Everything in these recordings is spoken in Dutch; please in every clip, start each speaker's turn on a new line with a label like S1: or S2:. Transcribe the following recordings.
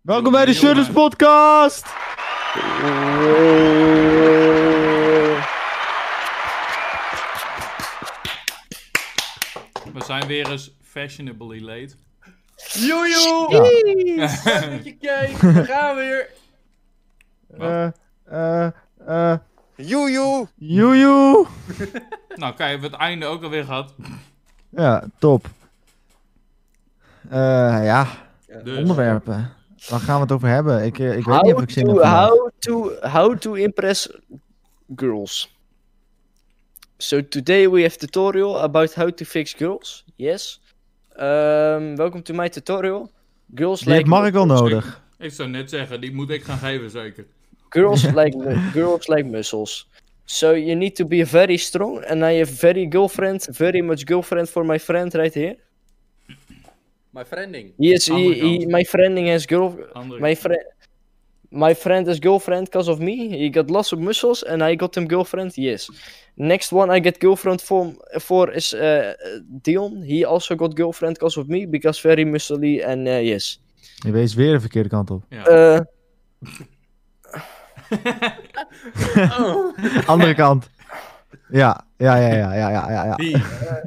S1: Welkom bij de Shutters Podcast!
S2: We zijn weer eens fashionably late.
S3: Joejoe!
S1: Ja.
S3: Met je cake, we gaan weer.
S1: Eh, eh, eh,
S4: Joejoe!
S1: joejoe!
S2: Nou, kijk, hebben we het einde ook alweer gehad.
S1: Ja, top. Eh, ja,
S2: Dus,
S1: onderwerpen. Waar gaan we het over hebben? Ik, eh, ik weet niet of
S4: How
S1: ik zin heb.
S4: to,
S1: vandaag.
S4: how, to, how to impress girls. So today we have tutorial about how to fix girls. Yes. Um, welcome to my tutorial. Girls
S1: Die
S4: like
S1: heeft Mark al nodig.
S2: Ik zou net zeggen, die moet ik gaan geven, zeker.
S4: girls like mu- girls like muscles. So you need to be very strong and I have very girlfriend, very much girlfriend for my friend right here.
S3: My friending.
S4: He is he,
S2: Andere
S4: he, my friending has girl
S2: Andere.
S4: My friend, my friend is girlfriend cause of me. He got lots of muscles, and I got him girlfriend. Yes. Next one I get girlfriend for for is uh, Dion. He also got girlfriend cause of me because very muscly and uh, yes.
S1: Je wees weer de verkeerde kant op.
S2: Ja.
S4: Uh,
S3: Oh.
S1: Andere kant. Ja, ja, ja, ja, ja, ja, ja. ja.
S2: Die.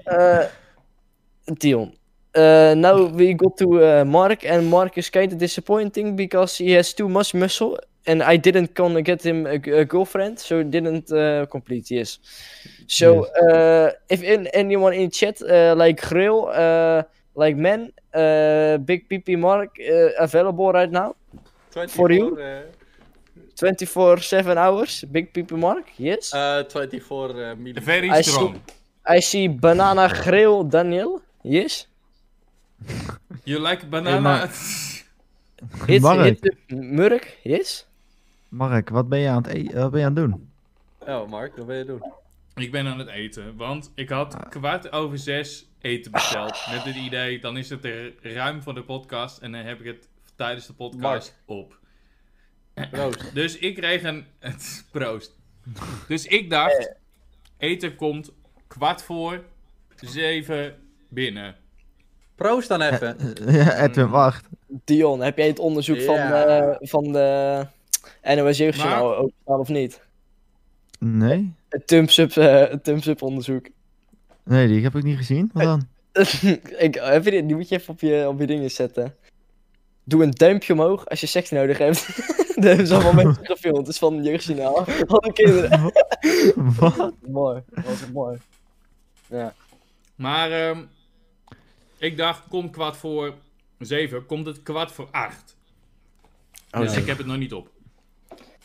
S4: uh, Dion. Uh, now we go to uh, Mark, and Mark is kind of disappointing because he has too much muscle, and I didn't gonna get him a, g- a girlfriend, so didn't uh, complete. Yes. So uh, if in, anyone in chat uh, like Grill, uh, like men, uh, Big PP Mark uh, available right now,
S3: 24,
S4: For you?
S3: eh,
S4: 24/7 hours. Big PP Mark, yes.
S3: eh, 24 eh, millimeter.
S2: Very
S4: Hij
S2: strong.
S4: I see Banana Grill Daniel, yes.
S2: You like
S1: Hey,
S2: banana?
S1: maar-
S4: Hit,
S1: Mark.
S4: hit Murk, yes.
S1: Mark, wat ben je aan het, e- wat ben je aan het doen?
S3: Oh, Mark, wat wil je doen?
S2: ik ben aan het eten, want ik
S1: Ah.
S2: had kwart over zes eten besteld. Met het idee, dan is het er ruim voor de podcast en dan heb ik het tijdens de podcast op.
S3: Proost.
S2: Dus ik kreeg een... Proost. Dus ik
S3: Eh.
S2: dacht, eten komt kwart voor zeven binnen.
S3: Proost dan even.
S1: Ja, Edwin, wacht.
S4: Dion, heb jij het onderzoek van,
S3: Ja.
S4: eh, van de NOS Jeugdjournaal
S2: Maar-
S4: ook gedaan of niet?
S1: Nee?
S4: Het thumbs-up eh, het thumbs-up onderzoek.
S1: Nee, die heb ik niet gezien. Wat dan?
S4: Ik, heb je dit, die moet je even op je, op je dingen zetten. Doe een duimpje omhoog als je seks nodig hebt. Dat hebben ze allemaal mensen gefilmd. Het is van het Jeugdjournaal. Van de kinderen.
S1: Wat?
S4: mooi. Dat was het mooi. Ja.
S2: Maar ehm, ik dacht, komt kwart voor zeven, komt het kwart voor acht. dus
S4: nee.
S2: ik heb het nog niet op.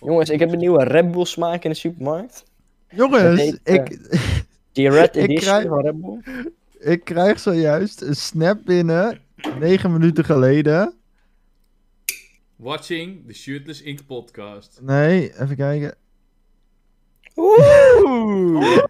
S4: Jongens, ik heb een nieuwe Red Bull smaak in de supermarkt.
S1: Jongens,
S4: Dat heet,
S1: ik,
S4: Die Red
S1: Ik
S4: Edition
S1: krijg-
S4: van Red Bull.
S1: ik krijg zojuist een snap binnen. 9 minuten geleden.
S2: Watching the Shirtless Ink podcast.
S1: Nee, even kijken.
S4: Oeh!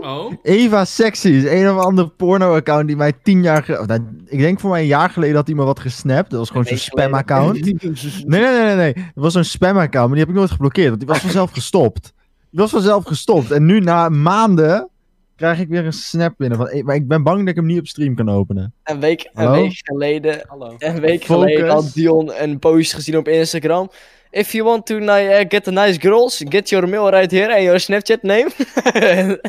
S2: Oh,
S1: Eva Sexy is een of andere porno-account die mij 10 jaar ge- of nou, Ik denk voor mij een jaar geleden had hij me wat gesnapt. Dat was gewoon zo'n
S4: Een week geleden.
S1: spam-account. Nee, nee, nee, nee, nee. Het was zo'n spam-account, maar die heb ik nooit geblokkeerd. Want die was vanzelf gestopt. Die was vanzelf gestopt. En nu, na maanden, krijg ik weer een snap binnen. Van, eh, maar ik ben bang dat ik hem niet op stream kan openen.
S4: Een week, een
S1: Hallo?
S4: week geleden
S3: Hallo.
S4: Een week
S1: Focus.
S4: geleden had Dion een post gezien op Instagram. If you want to ni- eh, get a nice girls, get your mail right here and your Snapchat name.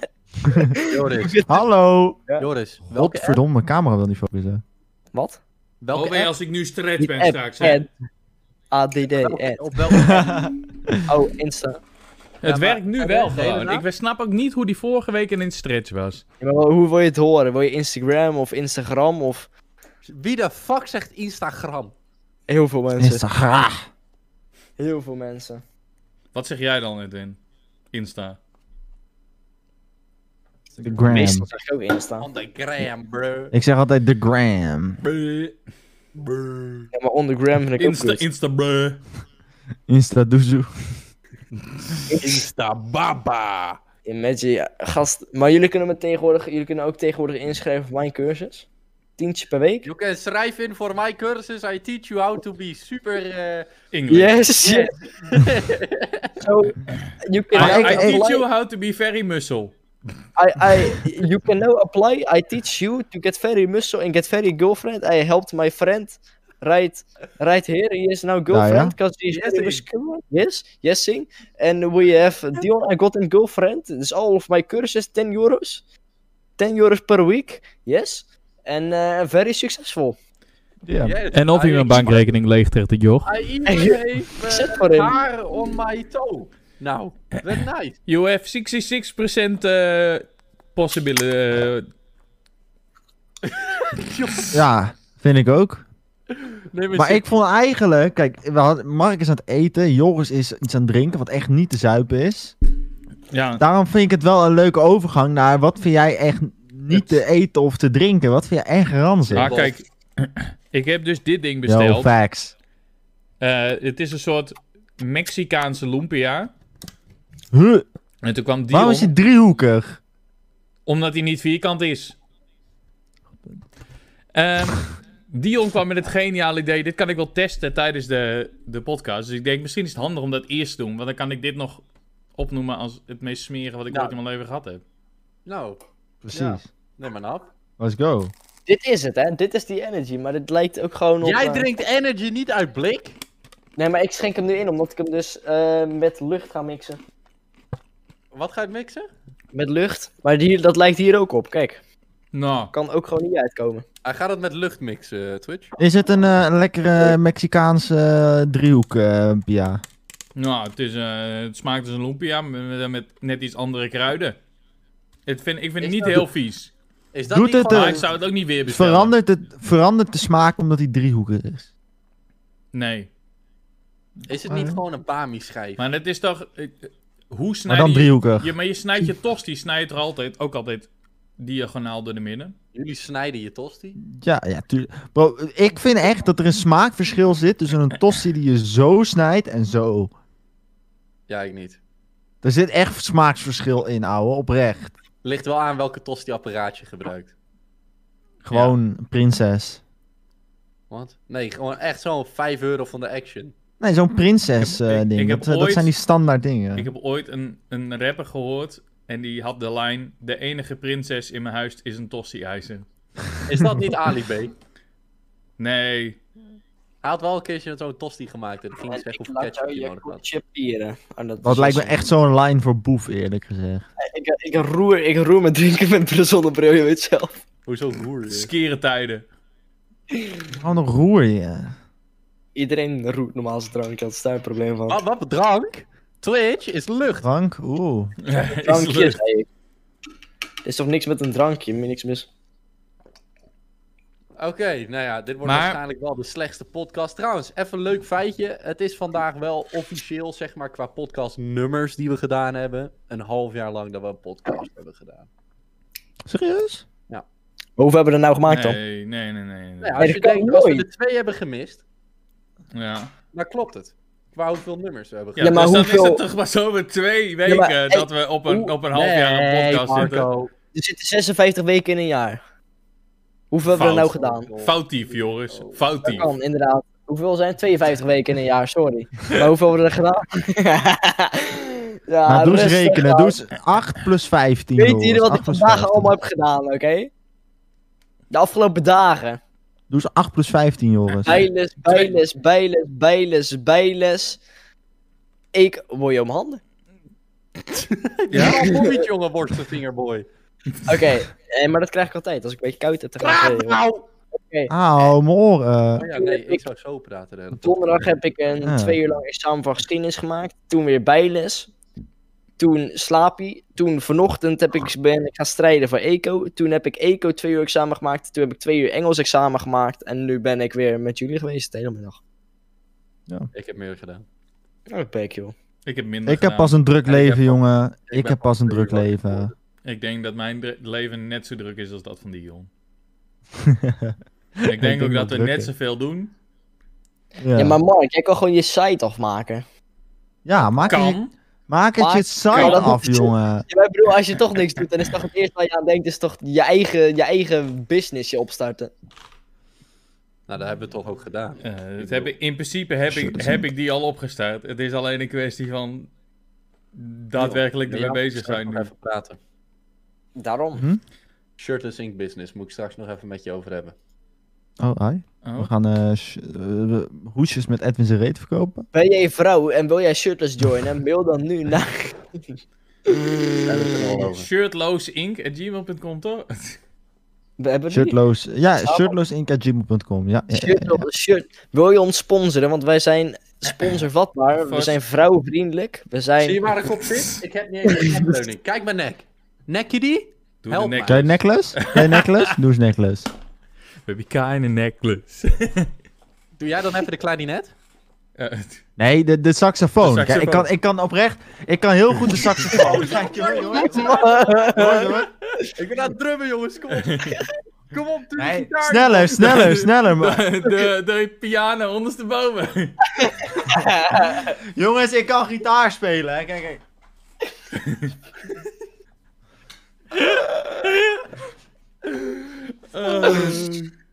S3: Joris,
S1: Hallo!
S3: Joris. Welke,
S1: Godverdomme, mijn camera wil niet focussen.
S4: Wat?
S3: welke
S2: alweer
S3: app?
S2: als ik nu stretch
S4: Niet
S2: ben
S4: app,
S2: straks. hè.
S4: ad. ADD, ad.
S3: Op welke app?
S4: Oh, Insta.
S2: Het
S3: maar-
S2: werkt nu
S3: en
S2: wel
S3: de hele
S2: gewoon.
S3: nacht?
S2: Ik snap ook niet hoe die vorige week in een stretch was.
S4: Ja, maar hoe wil je het horen? Wil je Instagram of Instagram of
S3: Wie de fuck zegt Instagram?
S4: heel veel mensen?
S1: Instagram.
S4: Heel veel mensen.
S2: Wat zeg jij dan, Edwin? Insta.
S1: De gram.
S4: Meestal zeg ik ook Insta.
S3: On the gram, bro.
S1: Ik zeg altijd de gram.
S4: Ja, maar on the gram vind ik ook
S2: Insta,
S4: goed.
S2: Insta, bruh.
S1: Insta doezoe.
S3: Insta baba.
S4: Imagine, ja, gast. Maar jullie kunnen, me tegenwoordig, jullie kunnen ook tegenwoordig inschrijven voor mijn cursus. Tientje per week.
S3: You can schrijf in voor my cursus. I teach you how to be super... eh,
S2: English.
S4: Yes, yes. so you can
S2: I,
S4: now
S2: I
S4: apply,
S2: teach you how to be very muscle.
S4: I, I you can now apply. I teach you to get very muscle and get very girlfriend. I helped my friend right, right here. He is now
S1: ja.
S4: girlfriend because he is
S3: Yes,
S4: very
S3: sing.
S4: muscular. Yes, yes, sing. And we have Dion, I got a girlfriend. This all of my curses, 10 euros. 10 euros per week. Yes. And uh, very successful.
S1: Ja.
S3: Yes,
S2: En of
S3: I
S2: hij mijn bankrekening leegtrekt, joh.
S3: I even have
S4: Zet
S3: uh,
S4: voor hem.
S3: haar on my toe. Nou, that's nice.
S2: You have 66% eh possible... eh,
S1: Ja, vind ik ook.
S3: Nee,
S1: Maar
S3: zie-
S1: ik vond eigenlijk, kijk, we hadden- Mark is aan het eten, Joris is iets aan het drinken, wat echt niet te zuipen is.
S2: ja,
S1: Daarom vind ik het wel een leuke overgang naar wat vind jij echt niet te eten of te drinken? Wat vind jij echt ranzig?
S2: maar Ah, kijk. Ik heb dus dit ding
S1: Yo,
S2: besteld.
S1: facts.
S2: Eh, het is een soort Mexicaanse lumpia.
S1: Huh,
S2: En toen kwam
S1: waarom
S2: Dion,
S1: is hij driehoekig?
S2: omdat hij niet vierkant is. Ehm, Dion kwam met het geniale idee, dit kan ik wel testen tijdens de, de podcast. Dus ik denk, misschien is het handig om dat eerst te doen. Want dan kan ik dit nog opnoemen als het meest smerige wat ik
S3: Nou.
S2: ooit in mijn leven gehad heb.
S3: Nou,
S1: Precies.
S3: Ja. neem maar af.
S1: Let's go.
S4: Dit is het, hè? Dit is die energy. Maar dit lijkt ook gewoon op.
S3: Jij
S4: eh,
S3: drinkt energy niet uit blik?
S4: Nee, maar ik schenk hem nu in omdat ik hem dus eh, met lucht ga mixen.
S3: Wat ga je mixen?
S4: Met lucht. Maar die, dat lijkt hier ook op. Kijk,
S2: Nou,
S4: kan ook gewoon niet uitkomen.
S3: Hij gaat het met lucht mixen, Twitch.
S1: Is het een eh, lekkere Mexicaanse eh, driehoek, eh, Pia?
S2: nou het, is, eh, het smaakt als een lumpia met, met net iets andere kruiden. Het vind, ik vind het
S3: Is
S2: niet
S3: dat-
S2: heel vies.
S3: Is dat
S1: Doet
S3: niet
S1: het,
S3: gewoon-
S2: Maar
S1: eh,
S2: ik zou het ook niet weer bestellen.
S1: Verandert, het, verandert de smaak omdat hij driehoekig is?
S2: Nee.
S3: Is het niet gewoon een Bami-schijf?
S2: Maar het is toch... eh, Hoe
S1: Maar
S2: snij
S1: dan
S2: je...
S1: driehoekig.
S2: Ja, maar je snijdt je tost, die snijdt er altijd, ook altijd diagonaal door de midden.
S3: Jullie snijden je tosti?
S1: Ja, ja, tuurlijk. Bro, ik vind echt dat er een smaakverschil zit tussen een tosti die je zo snijdt en zo.
S3: Ja, ik niet.
S1: Er zit echt smaaksverschil in, ouwe, oprecht.
S3: Ligt wel aan welke tosti-apparaat je gebruikt.
S1: Gewoon prinses.
S3: Wat? Nee, gewoon echt zo'n 5 euro van de action.
S1: Nee, zo'n prinses
S2: Ik-
S1: eh,
S2: ik-
S1: ding.
S2: ik heb
S1: dat, eh, dat
S2: ooit-
S1: zijn die standaard dingen.
S2: Ik heb ooit een, een rapper gehoord en die had de lijn... De enige prinses in mijn huis is een tosti-ijzer.
S3: Is dat niet Ali B? Hij
S2: Nee.
S3: had wel een keertje zo'n tosti gemaakt en ging hij zeggen hoeveel ketchup je nodig had.
S4: pieren.
S2: Oh,
S1: Dat lijkt me echt zo'n line voor boef, eerlijk gezegd.
S4: Ik, ik, roer, ik roer met drinken met een zonnebril, je weet zelf.
S3: Hoezo roer je?
S2: Skere tijden.
S1: Gewoon een roer, ja.
S4: Iedereen roert normaal zijn drank, dat is daar een probleem van.
S3: Wat, wat drank? Twitch is lucht.
S1: Drank, oeh.
S2: Is
S4: Drankjes,
S2: leuk.
S4: hey. Er is toch niks met een drankje, meer niks mis.
S3: Oké, nou ja, dit wordt
S2: Maar-
S3: waarschijnlijk wel de slechtste podcast. Trouwens, even een leuk feitje. Het is vandaag wel officieel, zeg maar, qua podcastnummers die we gedaan hebben. Een half jaar lang dat we een podcast hebben gedaan.
S1: Serieus?
S4: Maar hoeveel hebben we er nou gemaakt dan?
S2: Nee, nee, nee, nee. nee.
S3: Nou ja,
S4: Nee,
S3: als je
S4: dat kan
S3: denkt, als we
S4: nooit.
S3: er twee hebben gemist,
S2: Ja.
S3: dan klopt het. Qua hoeveel nummers we hebben
S2: Ja,
S3: gedaan.
S4: maar
S2: dus dan
S4: hoeveel-
S2: is het toch maar zo met twee weken
S4: maar, hey,
S2: dat we op een,
S4: hoe-
S2: op een half jaar een podcast zitten.
S4: Er zitten 56 weken in een jaar. Hoeveel hebben we er nou
S2: Fout.
S4: gedaan?
S2: Foutief, Joris.
S4: Dat
S2: Foutief.
S4: kan, inderdaad. Hoeveel zijn het? 52 weken in een jaar, sorry. Maar hoeveel hebben we er gedaan? ja,
S1: nou, doe eens
S4: rustig
S1: rekenen.
S4: aan.
S1: Doe eens 8 plus 15.
S4: Weet
S1: Joris.
S4: jullie wat
S1: 8
S4: ik
S1: plus
S4: vandaag
S1: 15.
S4: allemaal heb gedaan, oké? De afgelopen dagen.
S1: Doe eens 8 plus 15, Joris.
S4: Bijles, bijles, bijles, bijles, bijles. Ik word je om handen.
S2: Ja?
S3: Ja, Bobby, jongen, worstenvingerboy.
S4: Oké, eh, maar dat krijg ik altijd. Als ik een beetje koud heb, dan ga ik
S3: Praat
S4: weer-
S3: nou!
S1: Auw, mijn oren.
S3: Oh ja, nee, ik zou zo praten. hè.
S4: Donderdag heb ik een
S1: Ah.
S4: twee uur lang examen van geschiedenis gemaakt. Toen weer bijles. Toen slaapie. Toen vanochtend heb ik, ben ik gaan strijden voor eco. Toen heb ik eco twee uur examen gemaakt. Toen heb ik twee uur Engels examen gemaakt. En nu ben ik weer met jullie geweest de hele middag.
S3: Ik heb meer gedaan.
S4: Oh, pek joh.
S2: Ik heb minder
S1: Ik heb
S2: gedaan.
S1: pas een druk
S3: Ja, ik heb
S1: leven,
S3: pas-
S1: jongen. Ik
S3: ben
S1: heb pas een
S3: pas
S1: druk
S3: drie jaar
S1: leven.
S3: geworden.
S2: Ik denk dat mijn dre- leven net zo druk is als dat van Dion. ik denk
S1: denk
S2: ook
S1: wel
S2: dat we
S1: drukker.
S2: net zoveel doen.
S1: Ja,
S4: Ja, maar Mark, jij kan gewoon je site afmaken.
S1: Ja, maak, Je,
S2: Kan.
S1: maak het
S4: Maak-
S1: je
S4: kan.
S1: site af, jongen.
S4: Ja, maar ik bedoel, als je toch niks doet, dan is toch het eerste waar je aan denkt, is toch je eigen, je eigen businessje opstarten.
S3: Nou, dat hebben we toch ook gedaan.
S2: Eh, het heb ik, in principe heb,
S1: Shit,
S2: ik,
S1: dat is
S2: heb ik die al opgestart. Het is alleen een kwestie van daadwerkelijk ermee
S3: Ja,
S2: bezig
S3: straks
S2: zijn
S3: nog
S2: nu.
S3: Even praten.
S4: Daarom.
S1: Hm?
S3: Shirt en ink business moet ik straks nog even met je over hebben.
S1: Oh, hi. We
S2: Oh.
S1: gaan eh, sh- eh, we- hoesjes met Edwin zijn reet verkopen.
S4: Ben jij vrouw en wil jij shirtless joinen? Mail dan nu naar...
S3: Daar hebben we het al over.
S2: Shirtloosinc.gmail.com toch?
S4: We hebben het niet.
S1: Shirtloos. Ja, shirtloosinc.gmail.com. Ja, ja, ja, ja.
S4: Shirtless shirt. Wil je ons sponsoren? Want wij zijn sponsorvatbaar. We
S2: Vast.
S4: zijn vrouwvriendelijk. We
S3: Zie je
S4: zijn...
S3: waar ik op zit? Ik heb niet eens een leuning. Kijk mijn nek. Nek je die?
S2: Doe
S3: Help
S2: de nek.
S1: Wil je een necklace? Wil je een necklace? Doe eens een necklace.
S2: Baby Kain een necklace.
S3: Doe jij dan even de klarinet?
S2: Eh,
S1: Nee, de, de saxofoon.
S2: De
S1: Kijk, ik, kan, ik kan oprecht... Ik kan heel goed de saxofoon. Kijk, jongen, jongen. Jongen, jongen.
S3: Ik ben aan het drummen, jongens. Kom op. Kom op, doe
S1: Nee, Sneller, sneller, sneller. man.
S2: de, de, de piano ondersteboven.
S1: Jongens, ik kan gitaar spelen. hè. Kijk, kijk.
S2: Oh,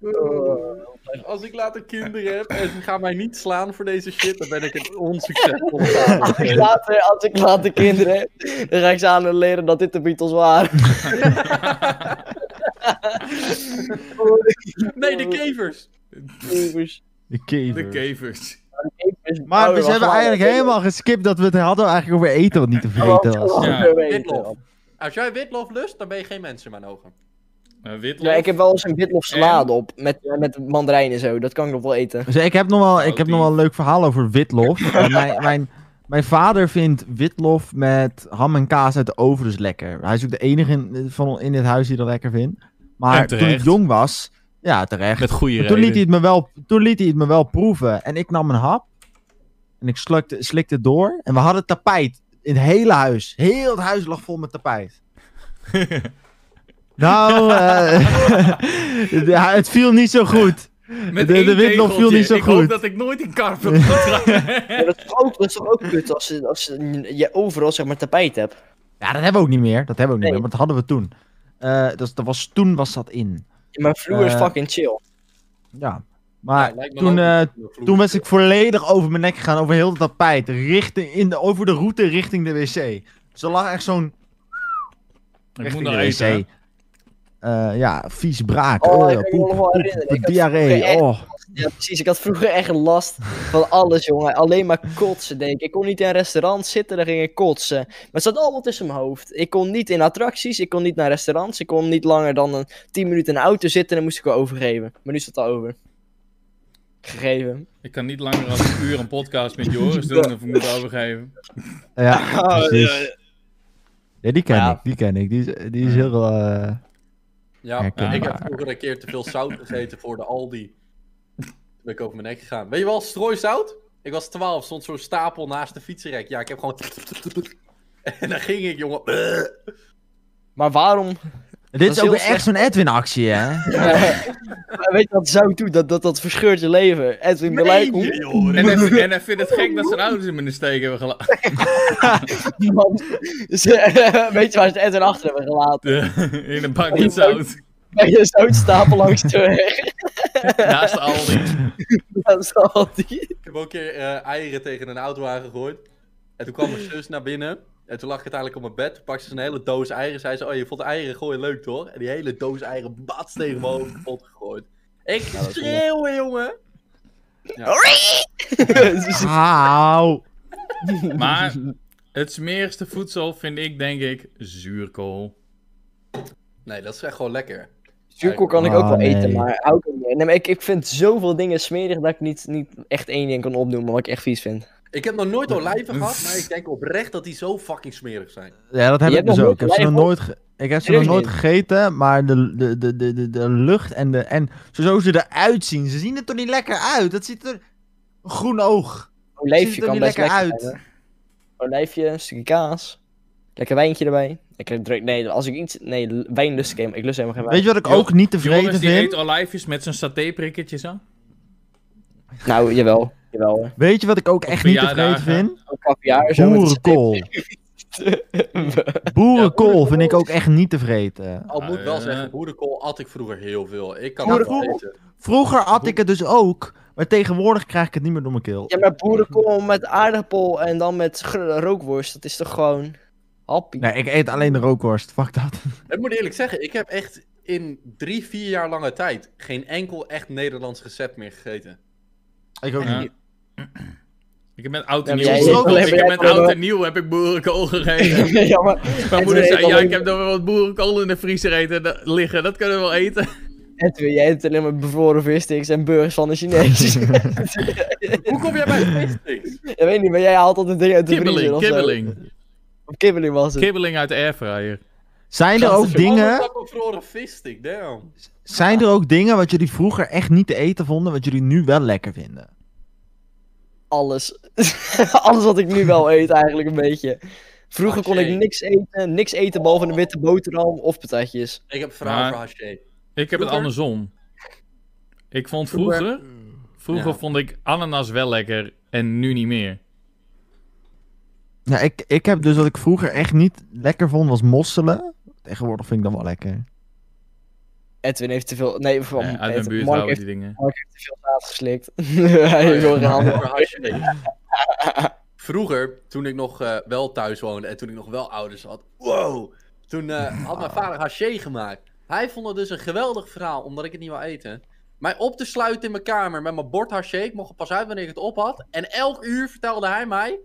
S4: Oh.
S3: Als ik later kinderen heb en ze gaan mij niet slaan voor deze shit, dan ben ik een onsuccesvol vader.
S4: Als ik later, als ik later kinderen heb, dan ga ik ze aan leren dat dit de Beatles waren.
S3: Nee, de kevers.
S4: Kevers.
S1: De kever.
S2: De kevers.
S4: Kevers.
S1: Maar
S4: Oh,
S1: we
S4: wacht,
S1: hebben
S4: wacht,
S1: eigenlijk
S4: wacht.
S1: helemaal geskipt dat we het hadden eigenlijk over eten wat niet te vergeten was.
S4: Wacht,
S2: Ja.
S4: we weten.
S3: Witlof. Als jij witlof lust, dan ben je geen mens in mijn ogen.
S2: Eh, witlof.
S4: Ja, ik heb wel eens een witlof salade op met, eh, met mandarijn en zo. Dat kan ik nog wel eten.
S1: Dus ik heb nog wel, ik
S2: Oh,
S1: heb
S2: die.
S1: nog wel een leuk verhaal over witlof. En mijn, mijn, mijn vader vindt witlof met ham en kaas uit de oven dus lekker. Hij is ook de enige in, van, in dit huis die dat lekker vindt. Maar
S2: En
S1: toen ik
S2: terecht.
S1: jong was, ja, terecht.
S2: Met goede
S1: Maar toen liet, hij
S2: reden.
S1: het me wel, toen liet hij het me wel proeven. En ik nam een hap. En ik slukte, slikte het door. En we hadden tapijt. In het hele huis. Heel het huis lag vol met tapijt. nou, eh, ja, het viel niet zo goed.
S2: Met
S1: de- de
S2: één
S1: witlof viel niet zo
S2: tegeltje. Ik
S1: goed.
S2: hoop dat ik nooit een karp heb gedragen.
S4: Ja, dat, is toch ook, dat is toch ook kut als, ze- als ze- je overal zeg maar tapijt hebt.
S1: Ja, dat hebben we ook niet meer. Dat hebben we ook niet
S4: Nee.
S1: meer, want dat hadden we toen. Eh, dat, dat was, toen was dat in.
S4: Mijn vloer is
S1: Eh,
S4: fucking chill.
S1: Ja.
S3: Ja,
S1: Maar
S3: lijkt me
S1: toen,
S3: wel-
S1: eh, toen was ik volledig over mijn nek gegaan. Over heel het tapijt. Richting, in de, over de route richting de wc. Dus er lag echt zo'n
S2: Ik moet
S1: Richting
S2: nog
S1: de
S2: eten. hè.
S1: wc. Eh, ja, vies braak.
S4: Oh,
S1: Oh,
S4: ik kan me
S1: poep,
S4: nog wel
S1: poep,
S4: herinneren. Ik had
S1: diarree.
S4: vroeger echt-
S1: Oh.
S4: Ja, precies. Ik had vroeger echt last van alles, jongen. Alleen maar kotsen, denk ik. Ik kon niet in een restaurant zitten, daar ging ik kotsen. Maar het zat allemaal tussen mijn hoofd. Ik kon niet in attracties, ik kon niet naar restaurants. Ik kon niet langer dan een 10 minuten in de auto zitten en dan moest ik wel overgeven. Maar nu is dat al over. Gegeven.
S2: Ik kan niet langer dan een uur een podcast met Joris doen of ik moet overgeven.
S4: Oh,
S1: Ja, precies. Ja, die ken
S4: Ja. Hmm.
S1: ik. Die ken ik. Die is, die is heel... eh,
S3: Ja,
S1: Herkenbaar.
S3: ik heb vroeger een keer te veel zout gegeten voor de Aldi. Toen ben ik over mijn nek gegaan. Weet je wel, strooisout? Ik was 12, stond zo'n stapel naast de fietsenrek. Ja, ik heb gewoon... En dan ging ik, jongen.
S4: Maar waarom?
S1: Dit is
S4: heel
S1: ook weer
S4: slecht.
S1: echt zo'n Edwin-actie, hè?
S4: Eh, weet je wat zou doet? Dat, dat, dat verscheurt je leven. Edwin Beleid.
S3: Nee, joh.
S2: En hij, en hij vindt het gek dat zijn ouders hem in de steek hebben gelaten.
S4: Man. Dus, eh, weet je waar ze Edwin achter hebben gelaten?
S2: In een bak met zout.
S4: Bij een zoutstapel langs de weg.
S2: Naast de Aldi.
S4: Dat is al die.
S3: Ik heb ook een keer eh, eieren tegen een auto aangegooid. En toen kwam mijn zus naar binnen. En toen lag ik uiteindelijk op mijn bed. Toen pakte ze een hele doos eieren. Zei ze, oh, je vond eieren gooien leuk, toch? En die hele doos eieren bats tegen mijn hoofd kapot gegooid. Ik schreeuwen, jongen.
S1: Auw.
S2: Maar het smerigste voedsel vind ik denk ik zuurkool.
S3: Nee, dat is echt gewoon lekker.
S4: Zuurkool kan ik
S1: Ah,
S4: ook wel eten,
S1: nee.
S4: maar hou ik ook niet. Nee, maar ik, ik vind zoveel dingen smerig dat ik niet, niet echt één ding kan opnoemen wat ik echt vies vind.
S3: Ik heb nog nooit olijven gehad, maar ik denk oprecht dat die zo fucking smerig zijn.
S1: Ja, dat heb
S4: Je
S1: ik
S4: hebt
S1: dus
S4: nog
S1: ook. Ik heb
S4: nooit
S1: ze nog
S4: gelijk,
S1: nooit, ge- ik heb ze
S4: Er
S1: nog
S4: is
S1: nooit
S4: één.
S1: gegeten, maar de, de, de, de, de, de lucht en, de, en zo ze eruit zien. Ze zien er toch niet lekker uit? Dat ziet er... Een groen oog.
S4: Olijfje
S1: Ziet er
S4: kan
S1: niet
S4: best
S1: lekker
S4: lekker,
S1: uit.
S4: zijn, hè. Olijfje, een stukje kaas. Lekker wijntje erbij. Ik drink, nee, als ik iets... Nee, l- wijn lust ik helemaal, ik lust helemaal geen
S1: Weet
S4: wijn.
S1: je wat ik
S2: Jo-
S1: ook niet tevreden
S2: Joris die eet
S1: vind?
S2: olijfjes met zijn satéprikketjes aan.
S4: Nou, jawel. Jawel hoor.
S1: Weet je wat ik ook echt niet tevreden
S2: verjaardagen.
S1: vind?
S4: Ook kaviaar zo. met
S1: Boerenkool. Boerenkool vind ik ook echt niet tevreden.
S3: Al moet ik wel
S2: Ah, ja.
S3: zeggen, boerenkool at ik vroeger heel veel. Ik kan dat
S1: Boerenkool?
S3: wel eten.
S1: Vroeger at ik het dus ook, maar tegenwoordig krijg ik het niet meer door mijn keel.
S4: Ja, maar boerenkool met aardappel en dan met gr- rookworst, dat is toch gewoon... Happy.
S1: Nee, ik eet alleen de rookworst. Fuck dat.
S3: Ik moet eerlijk zeggen, ik heb echt in drie, vier jaar lange tijd geen enkel echt Nederlands recept meer gegeten.
S1: Ik ook
S2: Ja.
S1: niet.
S2: Ik heb met oud
S4: Ja,
S2: en
S4: maar
S2: nieuw
S1: jij-
S2: gesproken.
S4: jij-
S2: Ik heb met
S4: jij-
S2: oud en nieuw heb ik boerenkool gegeten.
S4: ja, maar,
S2: Mijn
S4: En
S2: moeder
S4: toen
S2: zei,
S4: heeft
S2: ja,
S4: al-
S2: ik heb nog wel wat boerenkool in de vriezer eten, dat- liggen. Dat kunnen we wel eten.
S4: Edwin, jij hebt alleen maar bevroren vissticks en burgers van de Chinees.
S3: Hoe kom jij bij vissticks?
S4: ik weet niet, maar jij haalt altijd dingen uit de vriezer
S2: Kibbeling,
S4: of zo.
S2: kibbeling.
S4: Of kibbeling was het.
S2: Kibbeling uit de airfryer.
S1: Zijn er
S4: Gasten,
S1: ook dingen...
S3: Ik bevroren visstick, damn.
S1: Zijn er ook dingen wat jullie vroeger echt niet te eten vonden, wat jullie nu wel lekker vinden?
S4: Alles. Alles wat ik nu wel eet eigenlijk een beetje.
S2: Ah,
S4: Vroeger kon ik
S3: Haché.
S4: niks eten, niks eten behalve een witte boterham of patatjes.
S3: Ik heb vragen
S2: Maar-
S3: voor Haché.
S2: Ik heb het
S3: Vroeger?
S2: andersom. Ik vond vroeger, vroeger
S3: Ja.
S2: vond ik ananas wel lekker en nu niet meer.
S1: Nou, ik, ik heb dus wat ik vroeger echt niet lekker vond, was mosselen. Tegenwoordig vind ik dat wel lekker.
S4: Edwin heeft te veel. Nee, van,
S2: Ja, eh, uit mijn
S4: Ed-
S2: buurt Oh,
S4: Mark
S2: houden
S4: heeft
S2: die dingen.
S4: te veel zaad geslikt. Hij heeft wel geen handen.
S3: Voor Haché. Vroeger, toen ik nog eh, wel thuis woonde en toen ik nog wel ouders had. Wow! Toen eh, had mijn vader haché gemaakt. Hij vond het dus een geweldig verhaal, omdat ik het niet wou eten. Mij op te sluiten in mijn kamer met mijn bord haché. Ik mocht er pas uit wanneer ik het op had. En elk uur vertelde hij mij...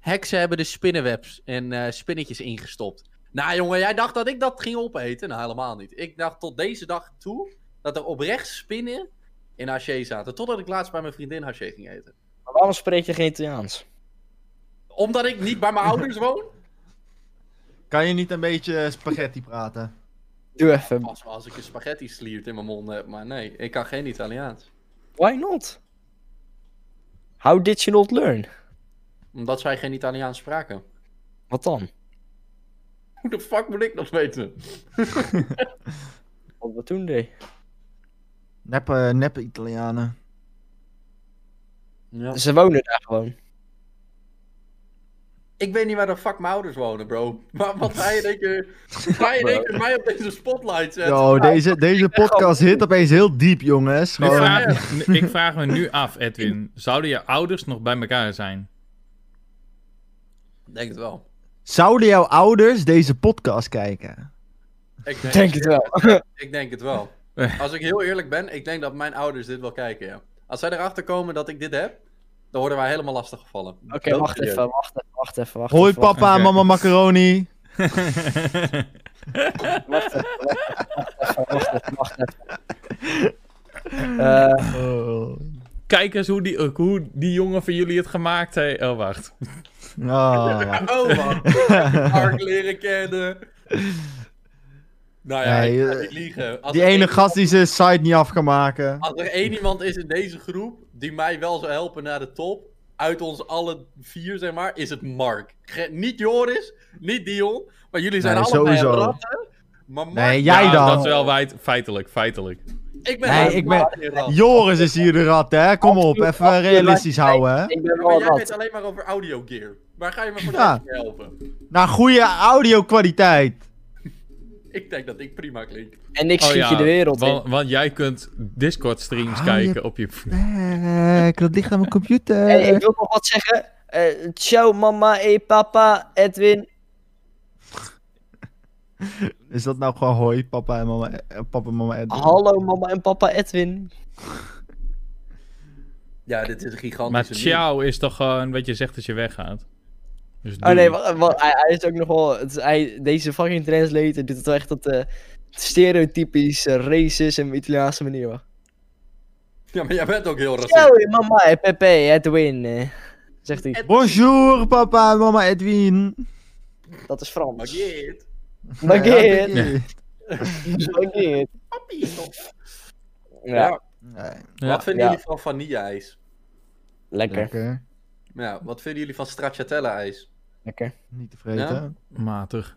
S3: Heksen hebben de spinnenwebs en eh, spinnetjes ingestopt. Nou jongen, jij dacht dat ik dat ging opeten? Nou, helemaal niet. Ik dacht tot deze dag toe dat er oprecht spinnen in haché zaten. Totdat ik laatst bij mijn vriendin haché ging eten.
S4: Maar waarom spreek je geen Italiaans?
S3: Omdat ik niet bij mijn ouders woon?
S1: Kan je niet een beetje spaghetti praten?
S4: Doe even.
S3: Pas wel als ik een spaghetti sliert in mijn mond heb, maar nee, ik kan geen Italiaans.
S4: Why not? How did you not learn?
S3: Omdat zij geen Italiaans spraken.
S4: Wat dan?
S3: Hoe de fuck moet ik dat weten?
S4: Wat we toen deed.
S1: Neppe, neppe Italianen.
S3: Ja.
S4: Ze wonen daar gewoon.
S3: Ik weet niet waar de fuck mijn ouders wonen, bro. Maar wat ga je denken? Ga je denken mij op deze spotlight zetten?
S1: Yo, deze, deze podcast hit opeens heel diep, jongens.
S2: Nu
S1: Gewoon-
S2: vraag- nu- ik vraag me nu af, Edwin. Zouden je ouders nog bij elkaar zijn?
S3: Ik Denk het wel.
S1: Zouden jouw ouders deze podcast kijken?
S3: Ik denk,
S4: Denk het wel.
S3: ik denk het wel. Als ik heel eerlijk ben, ik denk dat mijn ouders dit wel kijken, ja. Als zij erachter komen dat ik dit heb, dan worden wij helemaal lastig gevallen.
S4: Oké, wacht even, wacht even, wacht even. Wacht
S1: Hoi
S4: even, wacht
S1: papa en
S2: Oké.
S1: mama macaroni.
S4: even, Wacht even, wacht even. Eh,
S1: Oh.
S2: Kijk eens hoe die, eh, hoe die jongen van jullie het gemaakt heeft. Oh, wacht.
S1: Ah.
S3: Oh man, ik heb die Mark leren kennen. Nou ja,
S1: Nee,
S3: ik
S1: eh,
S3: ga niet liegen. Als
S1: Die
S3: er
S1: ene
S3: één-
S1: gast die zijn site niet af kan maken.
S3: Als er één iemand is in deze groep die mij wel zou helpen naar de top, uit ons alle vier zeg maar, is het Mark. Ge- niet Joris, niet Dion, maar jullie zijn
S1: Nee,
S3: allemaal
S1: sowieso.
S3: ratten. Maar Mark,
S1: Nee, jij
S2: Ja,
S1: dan.
S2: Dat is wel wijd, feitelijk, feitelijk.
S3: ik ben
S1: Nee,
S3: helemaal
S1: ik ben-
S3: geen rat.
S1: Joris is hier de rat, hè? Kom op,
S4: Absoluut,
S1: even
S4: absoluut.
S1: realistisch houden, hè?
S4: ik ben
S3: Maar
S4: wel
S3: jij weet
S4: wat.
S3: alleen maar over audiogear. Waar ga je me voor
S1: Ja.
S3: deze keer helpen?
S1: Naar goede audio-kwaliteit.
S3: Ik denk dat ik prima klink.
S4: En ik
S2: Oh
S4: schiet
S2: ja,
S4: je de wereld in.
S2: want, want jij kunt Discord-streams
S1: Ah,
S2: kijken
S1: je-
S2: op je...
S1: Nee, dat ligt aan mijn computer.
S4: Hey, ik wil nog wat zeggen. Eh, ciao mama, hey papa, Edwin.
S1: Is dat nou gewoon hoi, papa en mama, eh, papa en mama Edwin?
S4: Hallo mama en papa Edwin.
S3: Ja, dit is een gigantische
S2: Maar
S3: meme.
S2: ciao is toch gewoon wat je zegt als je weggaat. Dus
S4: Oh
S2: doei.
S4: nee, wa- wa- hij, hij is ook nog wel... het is- hij, deze fucking translator doet het wel echt op de stereotypische racist en Italiaanse manier. hoor.
S3: Ja, maar jij bent ook heel racistisch.
S4: Ciao hey, mama, hey, Pepe, Edwin. eh, zegt hij.
S3: Ed-
S1: Bonjour, papa en mama Edwin.
S4: Dat is Frans.
S3: Margeert.
S4: Baguette.
S1: Nee.
S4: Baguette.
S3: Papi.
S4: Ja,
S3: Ja.
S1: Nee,
S2: Ja.
S3: Wat vinden
S4: Ja.
S3: jullie van vanille-ijs?
S4: lekker.
S1: Lekker.
S3: Ja, wat vinden jullie van stracciatella-ijs?
S4: Lekker.
S1: Niet te vreten.
S2: Matig.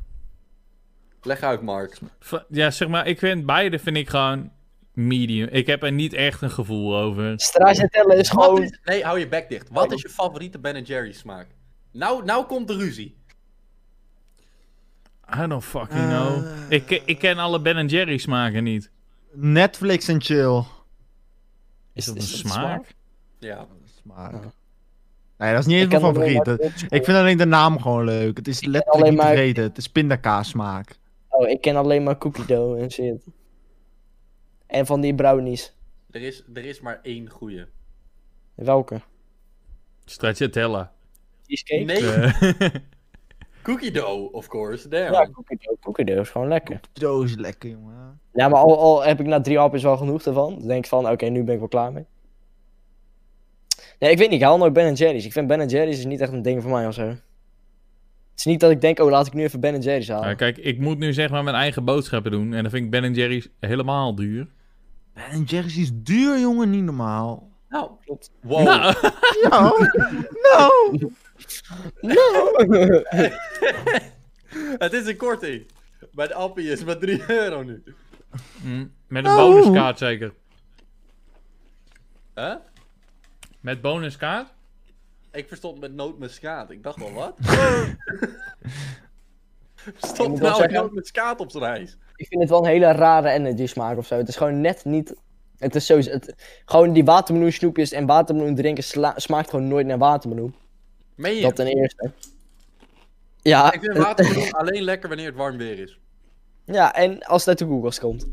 S3: Leg uit, Mark.
S2: Va- Ja, zeg maar, ik vind beide vind ik gewoon medium. Ik heb er niet echt een gevoel over.
S4: Stracciatella is
S3: Wat
S4: gewoon...
S3: is... Nee, hou je bek dicht. Wat is je favoriete Ben Jerry's smaak? Nou, nou komt de ruzie.
S2: I don't fucking know. Ik, ke- ik ken alle Ben Jerry's smaken niet.
S1: Netflix en chill.
S2: Is dat een
S4: is dat
S2: smaak?
S3: Ja.
S1: Smaak.
S4: Ja.
S1: Nee, dat is niet
S4: Ik
S1: eens mijn
S4: ken alleen
S1: favoriet.
S4: maar
S1: Dat-
S4: Dutch
S1: Ik vind alleen de naam gewoon leuk. Het is
S4: alleen
S1: letterlijk niet te
S4: maar-
S1: vreten. Het is pindakaas smaak.
S4: Oké, Oh, ik ken alleen maar cookie dough en shit. En van die brownies.
S3: Er is, er is maar één goede.
S4: Welke?
S2: Stracciatella.
S4: Cheesecake?
S3: Nee,
S2: Eh,
S3: cookie dough, of course. Damn.
S4: Ja, cookie dough. Cookie dough is gewoon lekker.
S1: Doos is lekker, jongen.
S4: Ja, maar al, al heb ik na drie hapjes wel genoeg ervan. Dan denk ik van, oké, nu ben ik wel klaar mee. Nee, ik weet niet. Ik haal nooit Ben Jerry's. Ik vind Ben Jerry's is niet echt een ding voor mij of zo. Het is niet dat ik denk, oh, laat ik nu even Ben Jerry's halen.
S2: nou, kijk, ik moet nu zeg maar mijn eigen boodschappen doen. En dan vind ik Ben Jerry's helemaal duur.
S1: Ben Jerry's is duur, jongen. Niet normaal.
S3: Nou,
S4: Klopt.
S3: wow.
S2: Nou,
S1: Nou, nou.
S4: No!
S3: Het is een korting. Bij de appie is maar 3 euro nu.
S2: mm, met een
S1: Oh.
S2: bonuskaart zeker.
S3: Huh?
S2: Met bonuskaart?
S3: Ik verstond met nootmuskaat. Ik dacht wel, wat?
S4: Ik
S3: Stop
S4: moet wel
S3: nou met
S4: zeggen-
S3: nootmuskaat op zijn ijs.
S4: ik vind het wel een hele rare energy smaak of zo. Het is gewoon net niet. Het is sowieso. Het, gewoon die watermeloen snoepjes en watermeloen drinken sla- smaakt gewoon nooit naar watermeloen.
S3: Meen je?
S4: Dat ten eerste. Ja,
S3: Ik vind watermeloen alleen lekker wanneer het warm weer is.
S4: ja, en als het uit de koelkast komt.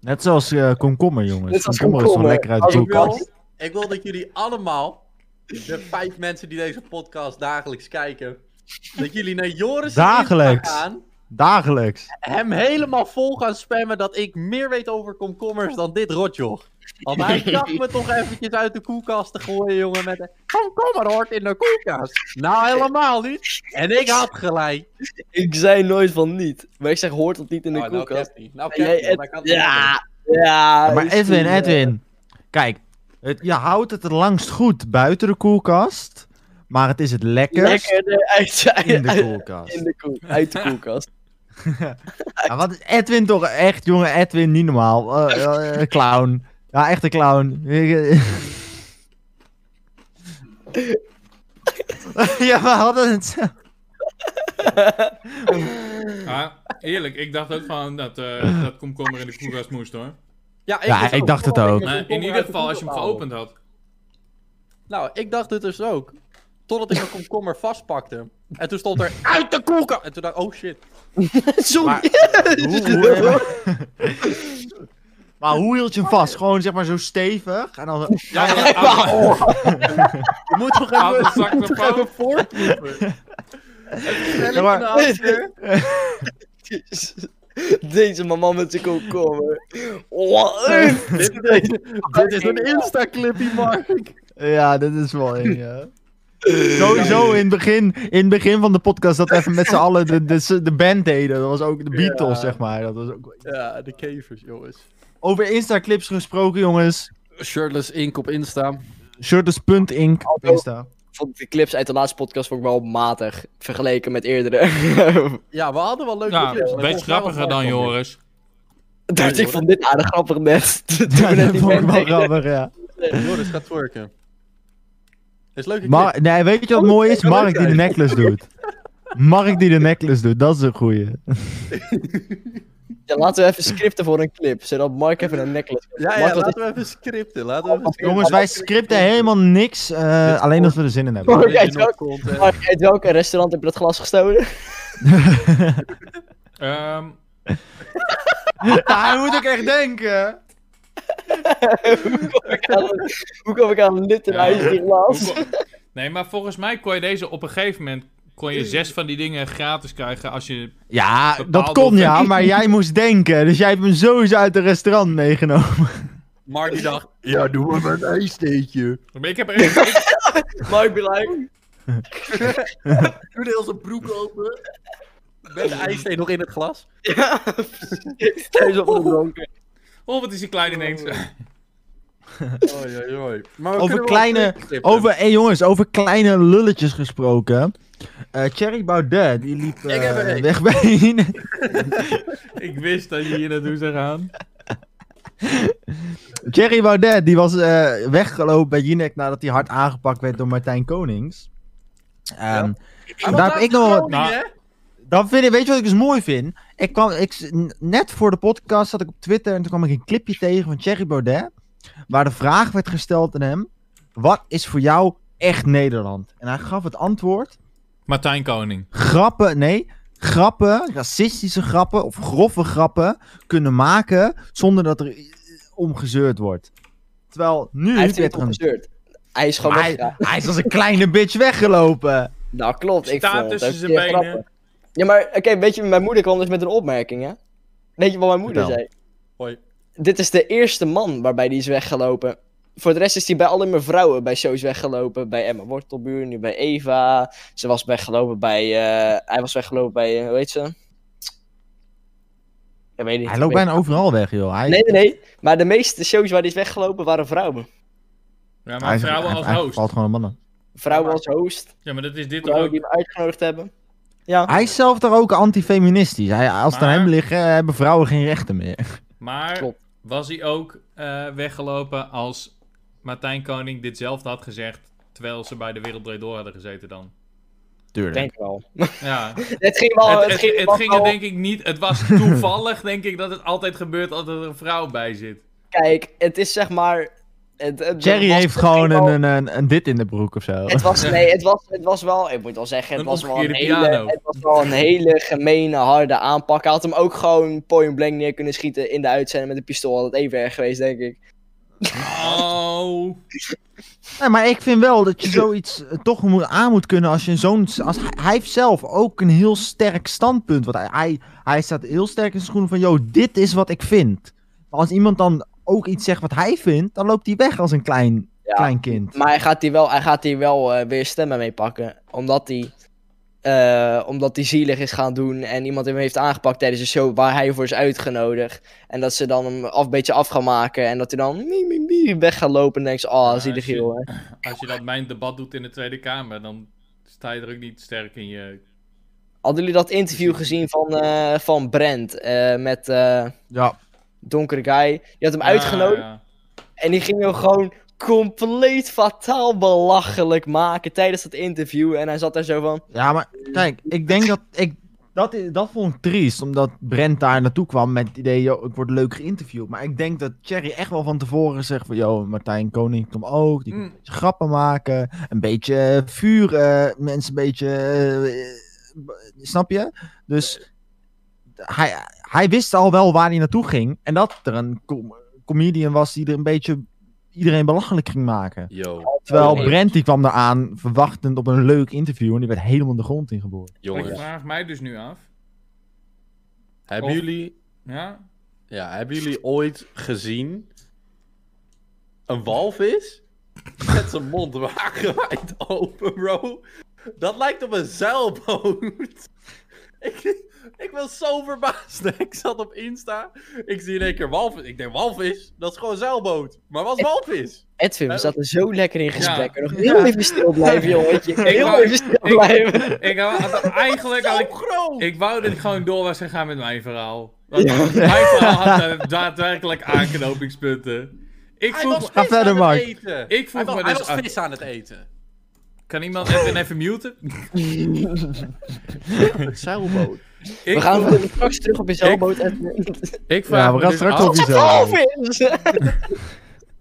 S1: Net zoals eh, komkommer, jongens.
S4: Net zoals
S1: komkommer is gewoon lekker uit
S4: komkommer.
S1: de
S4: Als
S3: Ik
S4: ik wel-
S1: koelkast.
S3: wil, ik wil dat jullie allemaal, de vijf mensen die deze podcast dagelijks kijken, dat jullie naar Joris'
S1: Dagelijks.
S3: Insta gaan,
S1: Dagelijks.
S3: hem helemaal vol gaan spammen dat ik meer weet over komkommers dan dit rotjoch. Want hij dacht me toch eventjes uit de koelkast te gooien, jongen, met een komkommer hoort in de koelkast. Nou, helemaal niet. En ik had gelijk.
S4: Ik zei nooit van niet. Maar ik zeg hoort dat niet in de
S3: Oh, nou
S4: koelkast.
S3: kent hij. Nou,
S4: En
S3: kent
S4: jij-
S3: hij, maar hij kan
S4: het-
S3: het niet doen.
S4: ja, ja.
S1: Ja, maar
S4: is
S1: Edwin,
S4: die, eh,
S1: Edwin. Kijk, het, je houdt het het langst goed buiten de koelkast. Maar het is het lekkerst
S4: Lekker eh, uit,
S1: in de
S4: uit,
S1: koelkast.
S4: in de koel- uit de koelkast.
S1: Ja, wat is Edwin toch echt, jongen, Edwin, niet normaal. Eh, eh, eh, clown. Ja, echt een clown. ja, we hadden het. zo-
S2: Ah, eerlijk, ik dacht ook van dat, eh, dat komkommer in de koelkast moest hoor.
S3: Ja, ik,
S1: Ja,
S3: dus
S1: ik dacht het ook.
S2: Maar in ieder geval als je hem geopend had.
S3: Nou, ik dacht het dus ook. Totdat ik mijn komkommer vastpakte. En toen stond er uit de koelkast. En toen dacht ik, oh shit.
S4: Sorry.
S1: Hoe- hoe- maar hoe hield je hem vast? Gewoon zeg maar zo stevig. En dan zo-
S2: Ja, ja, oude-
S3: Je moet toch
S2: oude
S3: even,
S2: zak
S3: toch even
S2: ervan.
S3: voorproeven.
S1: Ja, maar-
S4: Deze mama met zijn komkommer. Wat?
S3: dit, dit, dit is een Insta-clippie, Mark.
S1: Ja, dit is wel eng, ja. Sowieso in het, begin, in het begin van de podcast dat we even met z'n allen de, de, de band deden. Dat was ook de Beatles,
S3: Ja.
S1: zeg maar. Dat was ook...
S3: Ja, de kevers, jongens.
S1: Over Insta-clips gesproken, jongens.
S3: Shirtless Ink op Insta.
S1: Shirtless.inc op Insta.
S4: Vond ik de clips uit de laatste podcast vond ik wel matig. Vergeleken met eerdere.
S3: Ja, we hadden wel leuke
S2: Ja,
S3: clips.
S2: een beetje grappiger dan Joris.
S4: Dacht ik van dit aardig grappig net. Toen
S1: Ja,
S4: we net
S1: dat
S4: die
S1: vond ik
S4: band
S1: wel
S4: deden.
S1: grappig, ja.
S3: Joris gaat twerken. Is leuke clip.
S1: Mar nee, weet je wat mooi is?
S3: kan ook
S1: Mark die de necklace doet. Mark die de necklace doet, dat is een goeie.
S4: Ja, laten we even scripten voor een clip. Zodat Mark even een necklace
S3: Ja, ja,
S4: Mark, wat
S3: laten we even scripten. Laten we even scripten.
S1: Jongens, wij scripten helemaal niks, eh,
S3: Dit-
S1: alleen als we er zin in hebben.
S4: Oké,
S3: Original
S4: zo.
S3: content.
S4: is- Mark, uit welk restaurant heb je dat glas gestolen?
S2: Ehm,
S1: Ja, hij moet ook echt denken.
S4: Hoe kom ik aan- Hoe kom ik aan dit in
S2: Ja.
S4: huis die glas?
S2: hoe kon- nee, maar volgens mij kon je deze op een gegeven moment kon je zes van die dingen gratis krijgen als je
S1: Ja, dat
S2: Bepaald
S1: kon
S2: of-
S1: ja, maar jij moest denken. Dus jij hebt hem sowieso uit het restaurant meegenomen.
S3: Mark die dacht, ja, doe maar met een ijsteetje.
S2: Maar Ik heb er echt- ik-
S4: Mark be like.
S3: Doe heel zijn broek open. Met de ijsthee nog in het glas.
S4: Ja. Thuis opgedronken.
S2: Oh, wat is die kleine ineens?
S4: Oh.
S3: Oei, oei, oei. Maar we
S1: Over
S3: kunnen wel
S1: kleine-
S3: een clip knippen.
S1: Over, hey jongens, over kleine lulletjes gesproken. Eh Thierry Baudet, die liep
S3: Ik heb er
S1: eh,
S3: een.
S1: weg bij.
S2: ik wist dat je hier naartoe zou gaan.
S1: Thierry Baudet, die was eh, weggelopen bij Jinek nadat hij hard aangepakt werd door Martijn Konings. Ehm,
S3: Ja.
S1: en daar heb ik nog wat...
S2: Nou,
S3: Hè?
S1: Dan vind ik, weet je wat ik dus mooi vind? Ik kwam, ik, net voor de podcast zat ik op Twitter en toen kwam ik een clipje tegen van Thierry Baudet. Waar de vraag werd gesteld aan hem: Wat is voor jou echt Nederland? En hij gaf het antwoord:
S2: Martijn Koning.
S1: Grappen, nee. grappen, racistische grappen of grove grappen kunnen maken zonder dat er i- omgezeurd wordt. Terwijl nu
S4: Hij heeft
S1: werd
S4: niet
S1: er een-
S4: opgezeurd. Hij is gewoon
S1: Maar hij,
S4: weggegaan.
S1: hij is als een kleine bitch weggelopen.
S4: Nou, klopt. Ik
S2: Staat
S4: vond het
S2: tussen
S4: ook
S2: zijn
S4: zeer
S2: benen.
S4: grappig. Ja, maar oké, weet je, mijn moeder kwam dus met een opmerking, hè? Weet je wat mijn moeder
S1: Vertel.
S4: zei?
S3: Hoi.
S4: Dit is de eerste man waarbij die is weggelopen. Voor de rest is hij bij alle mijn vrouwen bij shows weggelopen. Bij Emma Wortelbuur, nu bij Eva. Ze was weggelopen bij... eh, hij was weggelopen bij... eh, hoe heet ze? Ik weet niet.
S1: Hij loopt bijna overal weg, joh. Hij,
S4: Nee, nee, nee. Maar de meeste shows waar hij is weggelopen waren vrouwen.
S2: Ja,
S1: hij
S2: maar
S1: is-
S2: vrouwen
S1: hij-
S2: als
S1: hij
S2: host.
S1: valt gewoon aan mannen.
S4: Vrouwen als host.
S2: Ja, maar dat is dit toch
S4: Vrouwen die
S2: ook.
S4: we uitgenodigd hebben. Ja.
S1: Hij is zelf daar ook antifeministisch. Hij, als het aan
S2: Maar-
S1: hem ligt, eh, hebben vrouwen geen rechten meer.
S2: Maar
S4: Klopt.
S2: was hij ook eh, weggelopen als Martijn Koning ditzelfde had gezegd, terwijl ze bij de Wereld Draait Door hadden gezeten dan?
S4: Ik
S1: Tuurlijk.
S4: denk wel.
S2: Ja,
S4: Het ging wel...
S2: het,
S4: Oh, Het,
S2: het,
S4: ging,
S2: het
S4: wel
S2: ging er denk ik niet. Het was toevallig, denk ik, dat het altijd gebeurt als er een vrouw bij zit.
S4: Kijk, het is zeg maar. Het, het
S1: Jerry
S4: was-
S1: heeft
S4: het ging
S1: gewoon
S4: wel-
S1: een, een, een, een dit in de broek of zo.
S4: Het was, nee, het was, het was wel, ik moet wel zeggen, het
S2: Een
S4: was wel, een
S2: omgekeerde
S4: hele,
S2: piano.
S4: het was wel een hele gemene, harde aanpak. Hij had hem ook gewoon point blank neer kunnen schieten in de uitzending met een pistool. Had het even erg geweest, denk ik.
S2: Oh.
S1: Nee, maar ik vind wel dat je zoiets eh, toch moet, aan moet kunnen als je in zo'n... Als, hij- hij heeft zelf ook een heel sterk standpunt. Want hij, hij, hij staat heel sterk in zijn schoenen van... Yo, dit is wat ik vind. Maar als iemand dan ook iets zegt wat hij vindt... dan loopt hij weg als een klein,
S4: Ja.
S1: klein kind.
S4: Maar hij gaat hier wel, hij gaat hier wel eh, weer stemmen mee pakken. Omdat hij, eh, omdat hij zielig is gaan doen en iemand hem heeft aangepakt tijdens een show waar hij voor is uitgenodigd. En dat ze dan hem af, een beetje af gaan maken en dat hij dan mie, mie, mie, weg gaat lopen en denkt, ze, oh,
S2: Ja,
S4: zielig
S2: shit.
S4: joh. hè."
S2: Als je dat mijn debat doet in de Tweede Kamer, dan sta je er ook niet sterk in je.
S4: Hadden jullie dat interview gezien van, eh, van Brent eh, met eh
S1: Ja.
S4: Donkere Guy? Die had hem
S2: Ah.
S4: uitgenodigd
S2: Ja,
S4: en die ging hem gewoon compleet fataal belachelijk maken tijdens dat interview. En hij zat daar zo van,
S1: ja, maar kijk, ik denk dat... Ik, dat, is, dat vond ik triest, omdat Brent daar naartoe kwam met het idee... Yo, ik word leuk geïnterviewd. Maar ik denk dat Thierry echt wel van tevoren zegt van... Yo, Martijn Koning komt ook, die
S2: ja. Mm.
S1: beetje grappen maken, een beetje vuur, eh, mensen een beetje... eh, b- snap je? Dus hij, hij wist al wel waar hij naartoe ging. En dat er een com- comedian was die er een beetje iedereen belachelijk ging maken.
S3: Yo,
S2: Oh,
S1: Terwijl
S4: nee.
S1: Brent die kwam eraan verwachtend op een leuk interview en die werd helemaal de grond ingeboord.
S2: Maar Ik
S3: jongens.
S2: vraag mij dus nu af.
S3: Hebben oh.
S2: Of-
S3: jullie,
S2: Ja?
S3: ja, hebben jullie ooit gezien een walvis? Met zijn mond wagenwijd open, bro. Dat lijkt op een zeilboot. ik, ik was zo verbaasd. Ik zat op Insta. Ik zie in één keer walvis. Ik denk, walvis? Dat is gewoon een zeilboot. Maar was walvis?
S4: Edwin, we
S3: Eh?
S4: zaten zo lekker in gesprek.
S2: Ja.
S4: Nog heel
S1: Ja.
S4: even stil blijven, jongetje. Heel
S2: wou-
S4: even stil
S2: ik-
S4: blijven.
S2: Ik had eigenlijk
S3: Zo
S2: had ik,
S3: groot!
S2: ik wou dat ik gewoon door was gegaan met mijn verhaal. Want Mijn verhaal had eh, daadwerkelijk aanknopingspunten. Ik
S3: Hij
S2: vroeg,
S3: was
S1: Ga
S3: vis
S1: verder,
S3: aan het
S1: Mark.
S3: eten.
S2: Ik vroeg
S3: Hij was-
S2: me
S3: Hij
S2: dus
S3: was
S2: af-
S3: vis aan het eten.
S2: me- kan iemand even, even muten?
S3: Het zeilboot.
S4: We
S2: Ik,
S4: gaan
S2: vroeg-
S4: straks terug op je zeilboot, Edwin.
S2: ik vraag
S1: Ja, we
S2: me
S1: gaan
S2: dus
S1: straks
S2: af-
S1: op je zeil.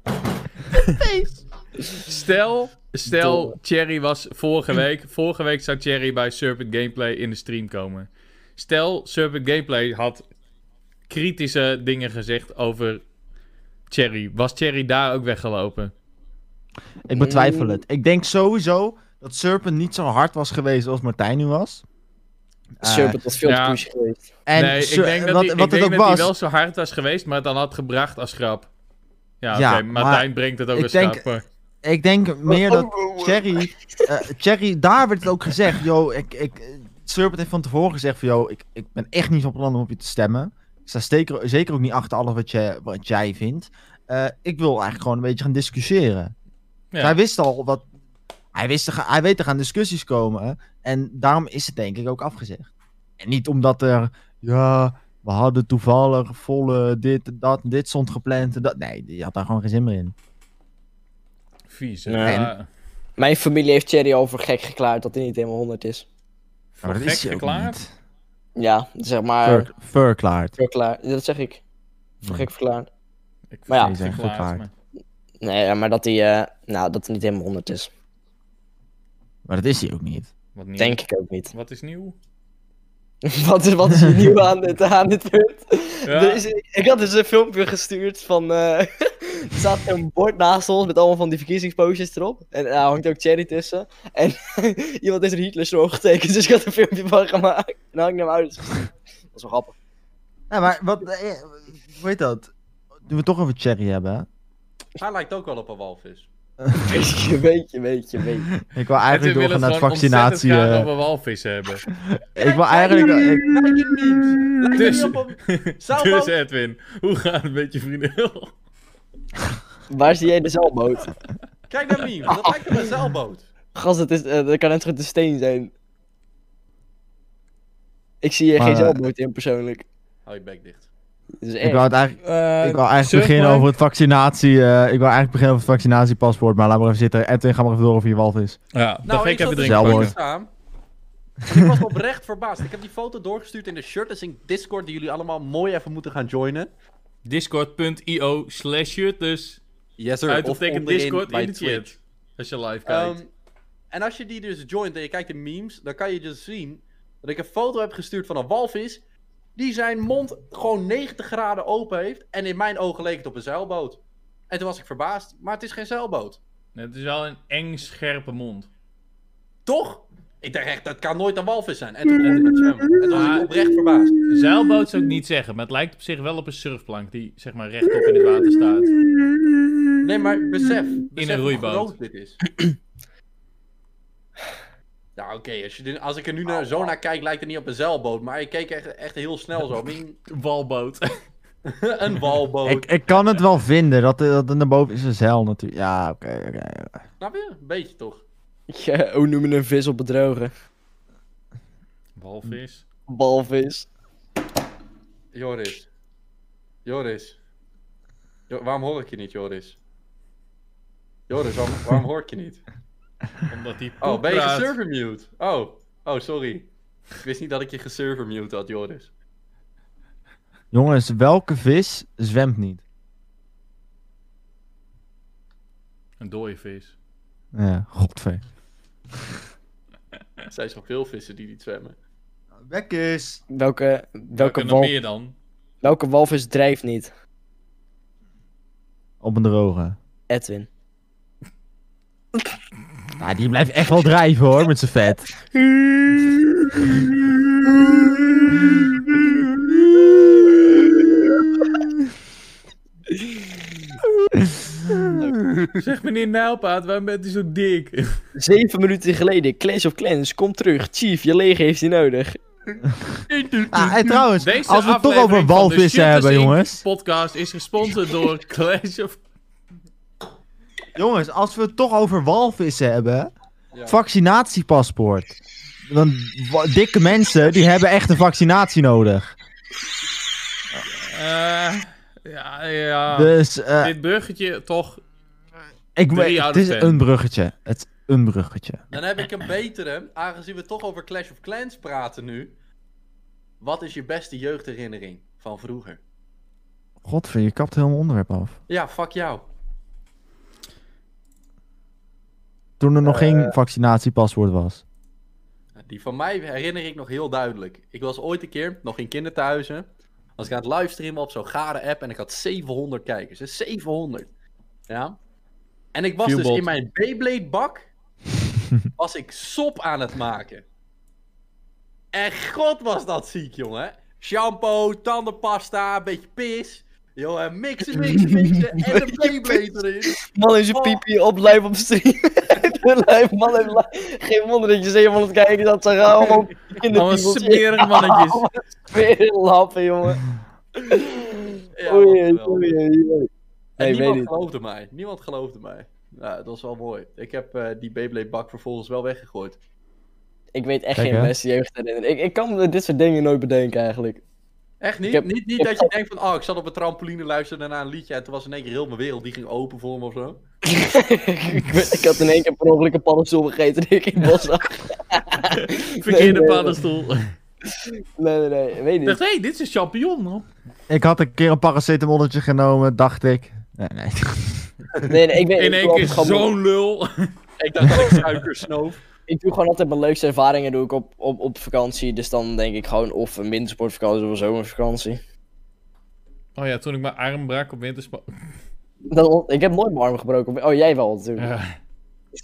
S4: Walvis!
S1: Ah.
S2: Stel, stel Thierry was vorige week. Vorige week zou Thierry bij Serpent Gameplay in de stream komen. Stel, Serpent Gameplay had kritische dingen gezegd over Thierry. Was Thierry daar ook weggelopen?
S1: Ik betwijfel
S4: Mm.
S1: het. Ik denk sowieso dat Serpent niet zo hard was geweest als Martijn nu was. Eh,
S4: Serpent was veel
S2: ja.
S4: te pushy geweest.
S1: en
S2: nee, ik
S1: Ser-
S2: denk dat,
S1: wat,
S2: hij,
S1: wat
S2: ik denk
S1: het ook
S2: dat hij
S1: was.
S2: wel zo hard was geweest, maar het dan had gebracht als grap. Ja,
S1: Ja,
S2: oké, Martijn
S1: maar
S2: brengt het ook
S1: ik
S2: als
S1: denk-
S2: grap. hoor.
S1: Ik denk meer dat Cherry, eh, Cherry, daar werd het ook gezegd. Yo, ik, ik, eh, Serpent heeft van tevoren gezegd van, yo, ik, ik ben echt niet van plan om op je te stemmen. Ik sta zeker, zeker ook niet achter alles wat, je, wat jij vindt. Eh, ik wil eigenlijk gewoon een beetje gaan discussiëren.
S2: Ja.
S1: Hij wist al wat... Hij, wist, er ga- hij weet er gaan discussies komen. En daarom is het denk ik ook afgezegd. En niet omdat er... Ja, we hadden toevallig volle dit, dat, dit stond gepland. en Dat. Nee, die had daar gewoon geen zin meer in.
S2: Vies. hè?
S4: Nee.
S2: Ja.
S4: Mijn familie heeft Thierry al voor gek verklaard dat hij niet helemaal 100 is.
S2: Voor gek verklaard?
S4: Ja, zeg maar.
S1: Ver, verklaard.
S4: Verklaar. Dat zeg ik. Voor gek verklaard.
S2: Ik
S4: Maar ja.
S2: vind het
S1: Deze
S2: verklaard,
S1: verklaard.
S2: maar-
S4: Nee, ja, maar dat hij, eh, nou, dat hij niet helemaal 100 is.
S1: Maar dat is hij ook niet.
S2: Wat nieuw?
S4: Denk ik ook niet.
S2: Wat is nieuw?
S4: wat, is, wat is hier nieuw aan dit, aan dit punt?
S2: Ja.
S4: Er is- ik had dus een filmpje gestuurd van... eh, er staat een bord naast ons met allemaal van die verkiezingspostjes erop. En daar hangt ook Cherry tussen. En iemand is er Hitler zo getekend, dus ik had een filmpje van gemaakt. En dan had ik naar mijn ouders gestuurd. Dat is wel grappig.
S1: Ja, maar wat... eh, Hoe heet dat? Doen we het toch over Cherry hebben, hè?
S3: Hij lijkt ook wel op een walvis.
S4: Beetje, beetje, beetje, beetje.
S1: Ik wil
S2: En toen
S1: eigenlijk
S2: willen
S1: doorgaan
S2: we
S1: naar het
S2: gewoon
S1: vaccinatie...
S2: ontzettend graag
S1: eh,
S2: over walvissen hebben.
S1: ik wil eigenlijk... ik-
S3: Lijkt je niet? Lijkt je
S2: Dus-
S3: niet op een... Salmo?
S2: Dus Edwin, hoe gaat het met je vriendin?
S4: Waar zie jij de zeilboot?
S3: Kijk naar Miem, dat lijkt op een zeilboot.
S4: Gast, dat, is, eh, dat kan net zo goed een steen zijn. Ik zie hier
S1: Maar,
S4: geen
S1: eh,
S4: zeilboot in persoonlijk.
S3: Hou je bek dicht.
S4: Dat is
S1: Ik
S4: echt.
S1: wou het eigenlijk...
S2: Eh,
S1: Ik wil eigenlijk beginnen over het vaccinatie. eh, ik wil eigenlijk beginnen over het vaccinatiepaspoort, maar laat maar even zitten. Edwin, ga maar even door over je walvis.
S2: Ja, dan ga ik
S3: zat
S2: even drinken.
S3: dus
S1: zelf-
S3: voor
S1: pakken.
S3: te staan. Ik was oprecht verbaasd. Ik heb die foto doorgestuurd in de shirt. Dat is een Discord die jullie allemaal mooi even moeten gaan joinen.
S2: Discord.io slash shirt dus.
S3: Yes sir.
S2: Uitopteken Discord in de chat. Als je live kijkt.
S3: Ehm, en als je die dus joint en je kijkt de memes, dan kan je dus zien dat ik een foto heb gestuurd van een walvis die zijn mond gewoon 90 graden open heeft en in mijn ogen leek het op een zeilboot. En toen was ik verbaasd, maar het is geen zeilboot.
S2: het is wel een eng scherpe mond.
S3: Toch? Ik dacht echt, dat kan nooit een walvis zijn. En toen kon ik het zwemmen. En toen was ik oprecht verbaasd.
S2: Een zeilboot zou ik niet zeggen, maar het lijkt op zich wel op een surfplank die zeg maar rechtop in het water staat.
S3: Nee, maar besef, besef hoe
S2: roeiboot.
S3: groot dit is. Nou, oké, als, je dit- als ik er nu naar, zo naar kijk, lijkt het niet op een zeilboot. Maar ik keek echt, echt heel snel zo. Mien,
S2: Walboot.
S3: een walboot.
S1: Ik, ik kan het wel vinden, dat, eh, dat naar boven is een zeil natuurlijk. Ja, oké, oké.
S3: Snap je? Een beetje toch?
S4: Ja, hoe noemen een vis op bedrogen?
S2: Walvis.
S4: Balvis.
S3: Joris. Joris. Jo- waarom hoor ik je niet, Joris? Joris, waarom, waarom hoor ik je niet?
S2: Omdat die
S3: Oh,
S2: poep
S3: ben je
S2: praat.
S3: geservermute? Oh, oh, sorry. Ik wist niet dat ik je geservermute had, Joris.
S1: Jongens, welke vis zwemt niet?
S2: Een dode vis.
S1: Ja, godver.
S3: Er zijn zoveel vissen die niet zwemmen.
S1: Weg is.
S4: Welke,
S2: Welke
S4: welke,
S2: nog
S4: wal,
S2: meer dan?
S4: welke walvis drijft niet?
S1: Op een droge.
S4: Edwin.
S1: Nou, die blijft echt wel drijven hoor, met zijn vet.
S2: Zeg meneer Nijlpaard, waarom bent u zo dik?
S4: Zeven minuten geleden, Clash of Clans, kom terug. Chief, je leger heeft je nodig.
S1: Ah, en trouwens,
S2: Deze
S1: als we het toch
S2: aflevering
S1: over
S2: van de
S1: walvissen
S2: Shooters
S1: hebben,
S2: Inc.
S1: jongens.
S2: podcast is gesponsord door Clash of...
S1: Jongens, als we het toch over walvissen hebben.
S3: Ja.
S1: Vaccinatiepaspoort. Want wa- dikke mensen, die hebben echt een vaccinatie nodig.
S2: Eh, ja, ja.
S1: Dus eh,
S2: Dit bruggetje toch...
S1: ik,
S2: drie
S1: weet-
S2: out
S1: het
S2: of
S1: is
S2: ten.
S1: een bruggetje. Het is een bruggetje.
S3: Dan heb ik een betere, aangezien we toch over Clash of Clans praten nu. Wat is je beste jeugdherinnering van vroeger?
S1: Godver, je kapt heel mijn onderwerp af.
S3: Ja, fuck jou.
S1: Toen er nog
S2: Eh.
S1: geen vaccinatiepaspoort was.
S3: Die van mij herinner ik nog heel duidelijk. Ik was ooit een keer, nog in kinderthuizen, was ik aan het livestreamen op zo'n gare app en ik had 700 kijkers. hè, 700. Ja. En ik was
S2: Viewbot.
S3: dus in mijn Beyblade bak, was ik sop aan het maken. En god was dat ziek, jongen. Shampoo, tandenpasta, een beetje pis. Jongen, mixen, mixen, mixen. en een Beyblade erin.
S4: Man heeft zijn
S3: Oh.
S4: piepie op live op stream. live, man heeft live. Geen wonder dat je 700 kijkers dat zijn allemaal
S2: Allemaal
S4: kinderpiepels.
S2: smerige mannetjes.
S4: Weer lappen, jongen.
S3: Ja,
S4: oei, oei,
S3: wat geweldig.
S4: oei, oei.
S3: En
S4: Nee, weet
S3: niemand
S4: niet.
S3: geloofde mij. Niemand geloofde mij. Ja, dat was wel mooi. Ik heb eh, die Beyblade-bak vervolgens wel weggegooid.
S4: Ik weet echt
S1: Kijk,
S4: geen
S1: hè?
S4: beste jeugdherinnering. Ik, ik kan eh, dit soort dingen nooit bedenken eigenlijk.
S3: Echt niet?
S4: Ik heb-
S3: niet niet
S4: ik
S3: dat
S4: heb-
S3: je denkt van, oh, ik zat op een trampoline luisteren naar een liedje en toen was in één keer heel mijn wereld, die ging open voor me of zo.
S4: ik, weet- ik had in één keer per ongeluk een paddenstoel gegeten die ik in het bos zag.
S2: Verkeerde
S4: nee.
S2: paddenstoel.
S4: Nee, nee, nee. Weet
S2: Ik dacht,
S4: niet.
S2: hé, hey, dit is een champignon. man.
S1: Ik had een keer een paracetamolletje genomen, dacht ik. Nee, nee.
S4: Nee, nee, ik weet
S2: In
S4: ik
S2: één
S4: geloof
S2: keer
S4: het gewoon
S2: zo'n lul.
S3: Ik dacht dat ik suiker snoof.
S4: ik doe gewoon altijd mijn leukste ervaringen doe ik op, op, op vakantie. Dus dan denk ik gewoon of een wintersportvakantie of een zomervakantie.
S2: Oh ja, toen ik mijn arm brak op wintersport.
S4: Dat, ik heb nooit mijn arm gebroken. Oh, jij wel natuurlijk.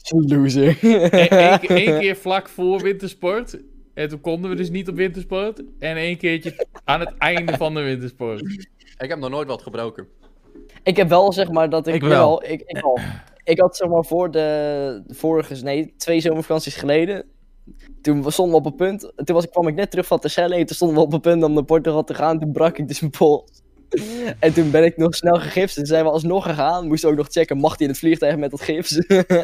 S4: Loser.
S2: Eén één keer vlak voor wintersport. En toen konden we dus niet op wintersport. En één keertje aan het einde van de wintersport.
S3: Ik heb nog nooit wat gebroken.
S4: Ik heb wel, zeg maar, dat ik,
S1: Ik wel.
S4: jawel, ik, ik wel. Ik had, zeg maar, voor de vorige, nee, twee zomervakanties geleden. Toen we- stonden we op een punt. Toen was, kwam ik net terug van Tercelle. en Toen stonden we op een punt om naar Portugal te gaan. Toen brak ik dus mijn pols. En toen ben ik nog snel gegipst. En zijn we alsnog gegaan. Moesten ook nog checken, mag hij in het vliegtuig met dat gips?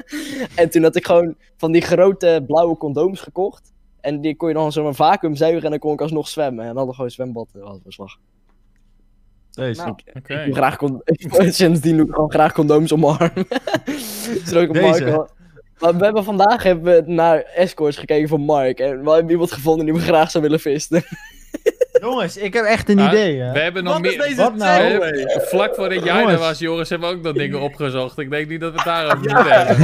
S4: en toen had ik gewoon van die grote blauwe condooms gekocht. En die kon je dan zo'n vacuüm zuigen en dan kon ik alsnog zwemmen. En dan hadden we gewoon zwembad. Dat was beslag.
S1: Deze.
S4: Nou,
S2: Oké.
S4: Ik doe graag con- Sindsdien doe ik gewoon graag condooms om mijn arm. Zodat ik op
S1: Deze.
S4: Mark wel- Maar we hebben vandaag hebben we naar escorts gekeken van Mark. En we hebben iemand gevonden die we graag zou willen visten.
S1: Jongens, ik heb echt een
S2: Maar
S1: idee, hè.
S2: We hebben nog
S3: Wat is
S2: meer.
S3: deze
S1: wat nou?
S3: tail,
S2: We
S3: hey?
S2: hebben- vlak voordat jij er
S1: Jongens.
S2: was, Joris, hebben we ook dat dingen opgezocht. Ik denk niet dat we het daarover moeten hebben.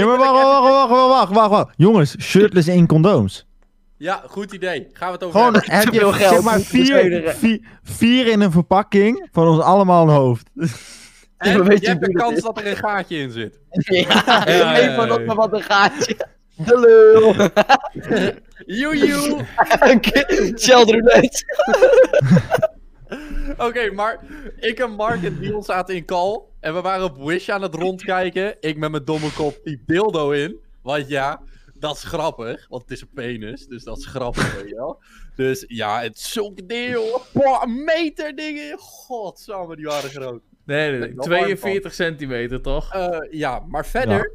S1: Ja, maar wacht, wacht, wacht, wacht, wacht, wacht, wacht. Jongens, shirtless in condooms.
S3: Ja, goed idee. Gaan we het over
S1: Gewoon,
S3: hebben.
S1: heb
S4: veel
S1: je
S4: geld,
S1: zeg maar
S4: moet je
S1: vier,
S4: besteden.
S1: vier, vier in een verpakking van ons allemaal een hoofd.
S3: En
S4: we weten
S3: je hebt
S4: hoe
S3: de
S4: dat
S3: kans
S4: is.
S3: dat er een gaatje in zit.
S4: ja,
S2: ja, ja.
S4: een van ons maar wat een gaatje. De lul.
S3: Joejoe!
S4: Oké, Sheldon Roulette.
S3: Oké, maar ik en Mark en Dion zaten in call. En we waren op Wish aan het rondkijken. Ik met mijn domme kop die dildo in. Want ja, dat is grappig. Want het is een penis, dus dat is grappig, weet je wel. Dus ja, het is zulke dingen, hoor. Boah, een meter dingen. Godsamme, die waren groot.
S2: Nee, nee,
S3: Ben
S2: nee.
S3: ik wel warm van.
S2: 42 centimeter toch?
S3: Eh, ja, maar verder.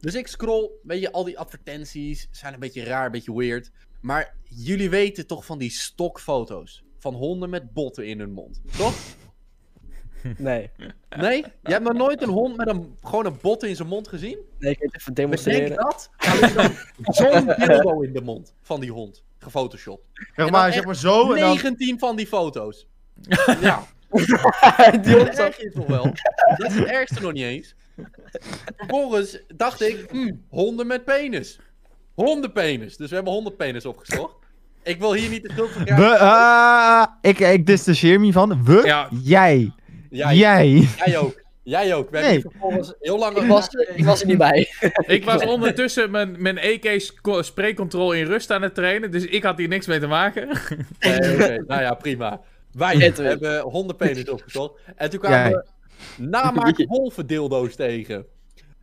S3: Dus ik scroll, weet je, al die advertenties zijn een beetje raar, een beetje weird. Maar jullie weten toch van die stokfoto's? Van honden met botten in hun mond, toch?
S4: Nee,
S3: Nee? Je hebt nog nooit een hond met een, gewoon een bot in zijn mond gezien?
S4: nee, ik heb even
S3: Bedenk
S4: demonstreren.
S3: dat? Alleen dan Zo'n dildo in de mond van die hond. Gefotoshopt.
S1: Zeg
S3: maar,
S1: maar,
S3: zeg
S1: zeg maar zo Oh, en dan...
S3: 19 van die foto's. Ja,
S4: Die
S3: dat
S4: ons
S3: zeg je toch wel? Dat is het ergste nog niet eens. Vervolgens dacht ik, hm, honden met penis. Hondenpenis. Dus we hebben hondenpenis opgezocht. Ik wil hier niet de schuld van krijgen.
S1: We, ah, ik, ik distancieer me van. We,
S2: Ja.
S1: jij,
S3: Jij,
S1: jij.
S3: jij ook. Jij ook. We hebben
S1: Nee.
S3: hier vervolgens heel lang
S4: Ik was, ik was er niet bij.
S2: Ik was ondertussen mijn, mijn E EK-spreekcontrole in rust aan het trainen, dus ik had hier niks mee te maken.
S3: Nee, oké. Nou ja, prima. Wij
S4: Het is.
S3: hebben hondenpenis opgezocht. En toen kwamen
S1: Jij.
S3: we namaak wolvendildo's tegen.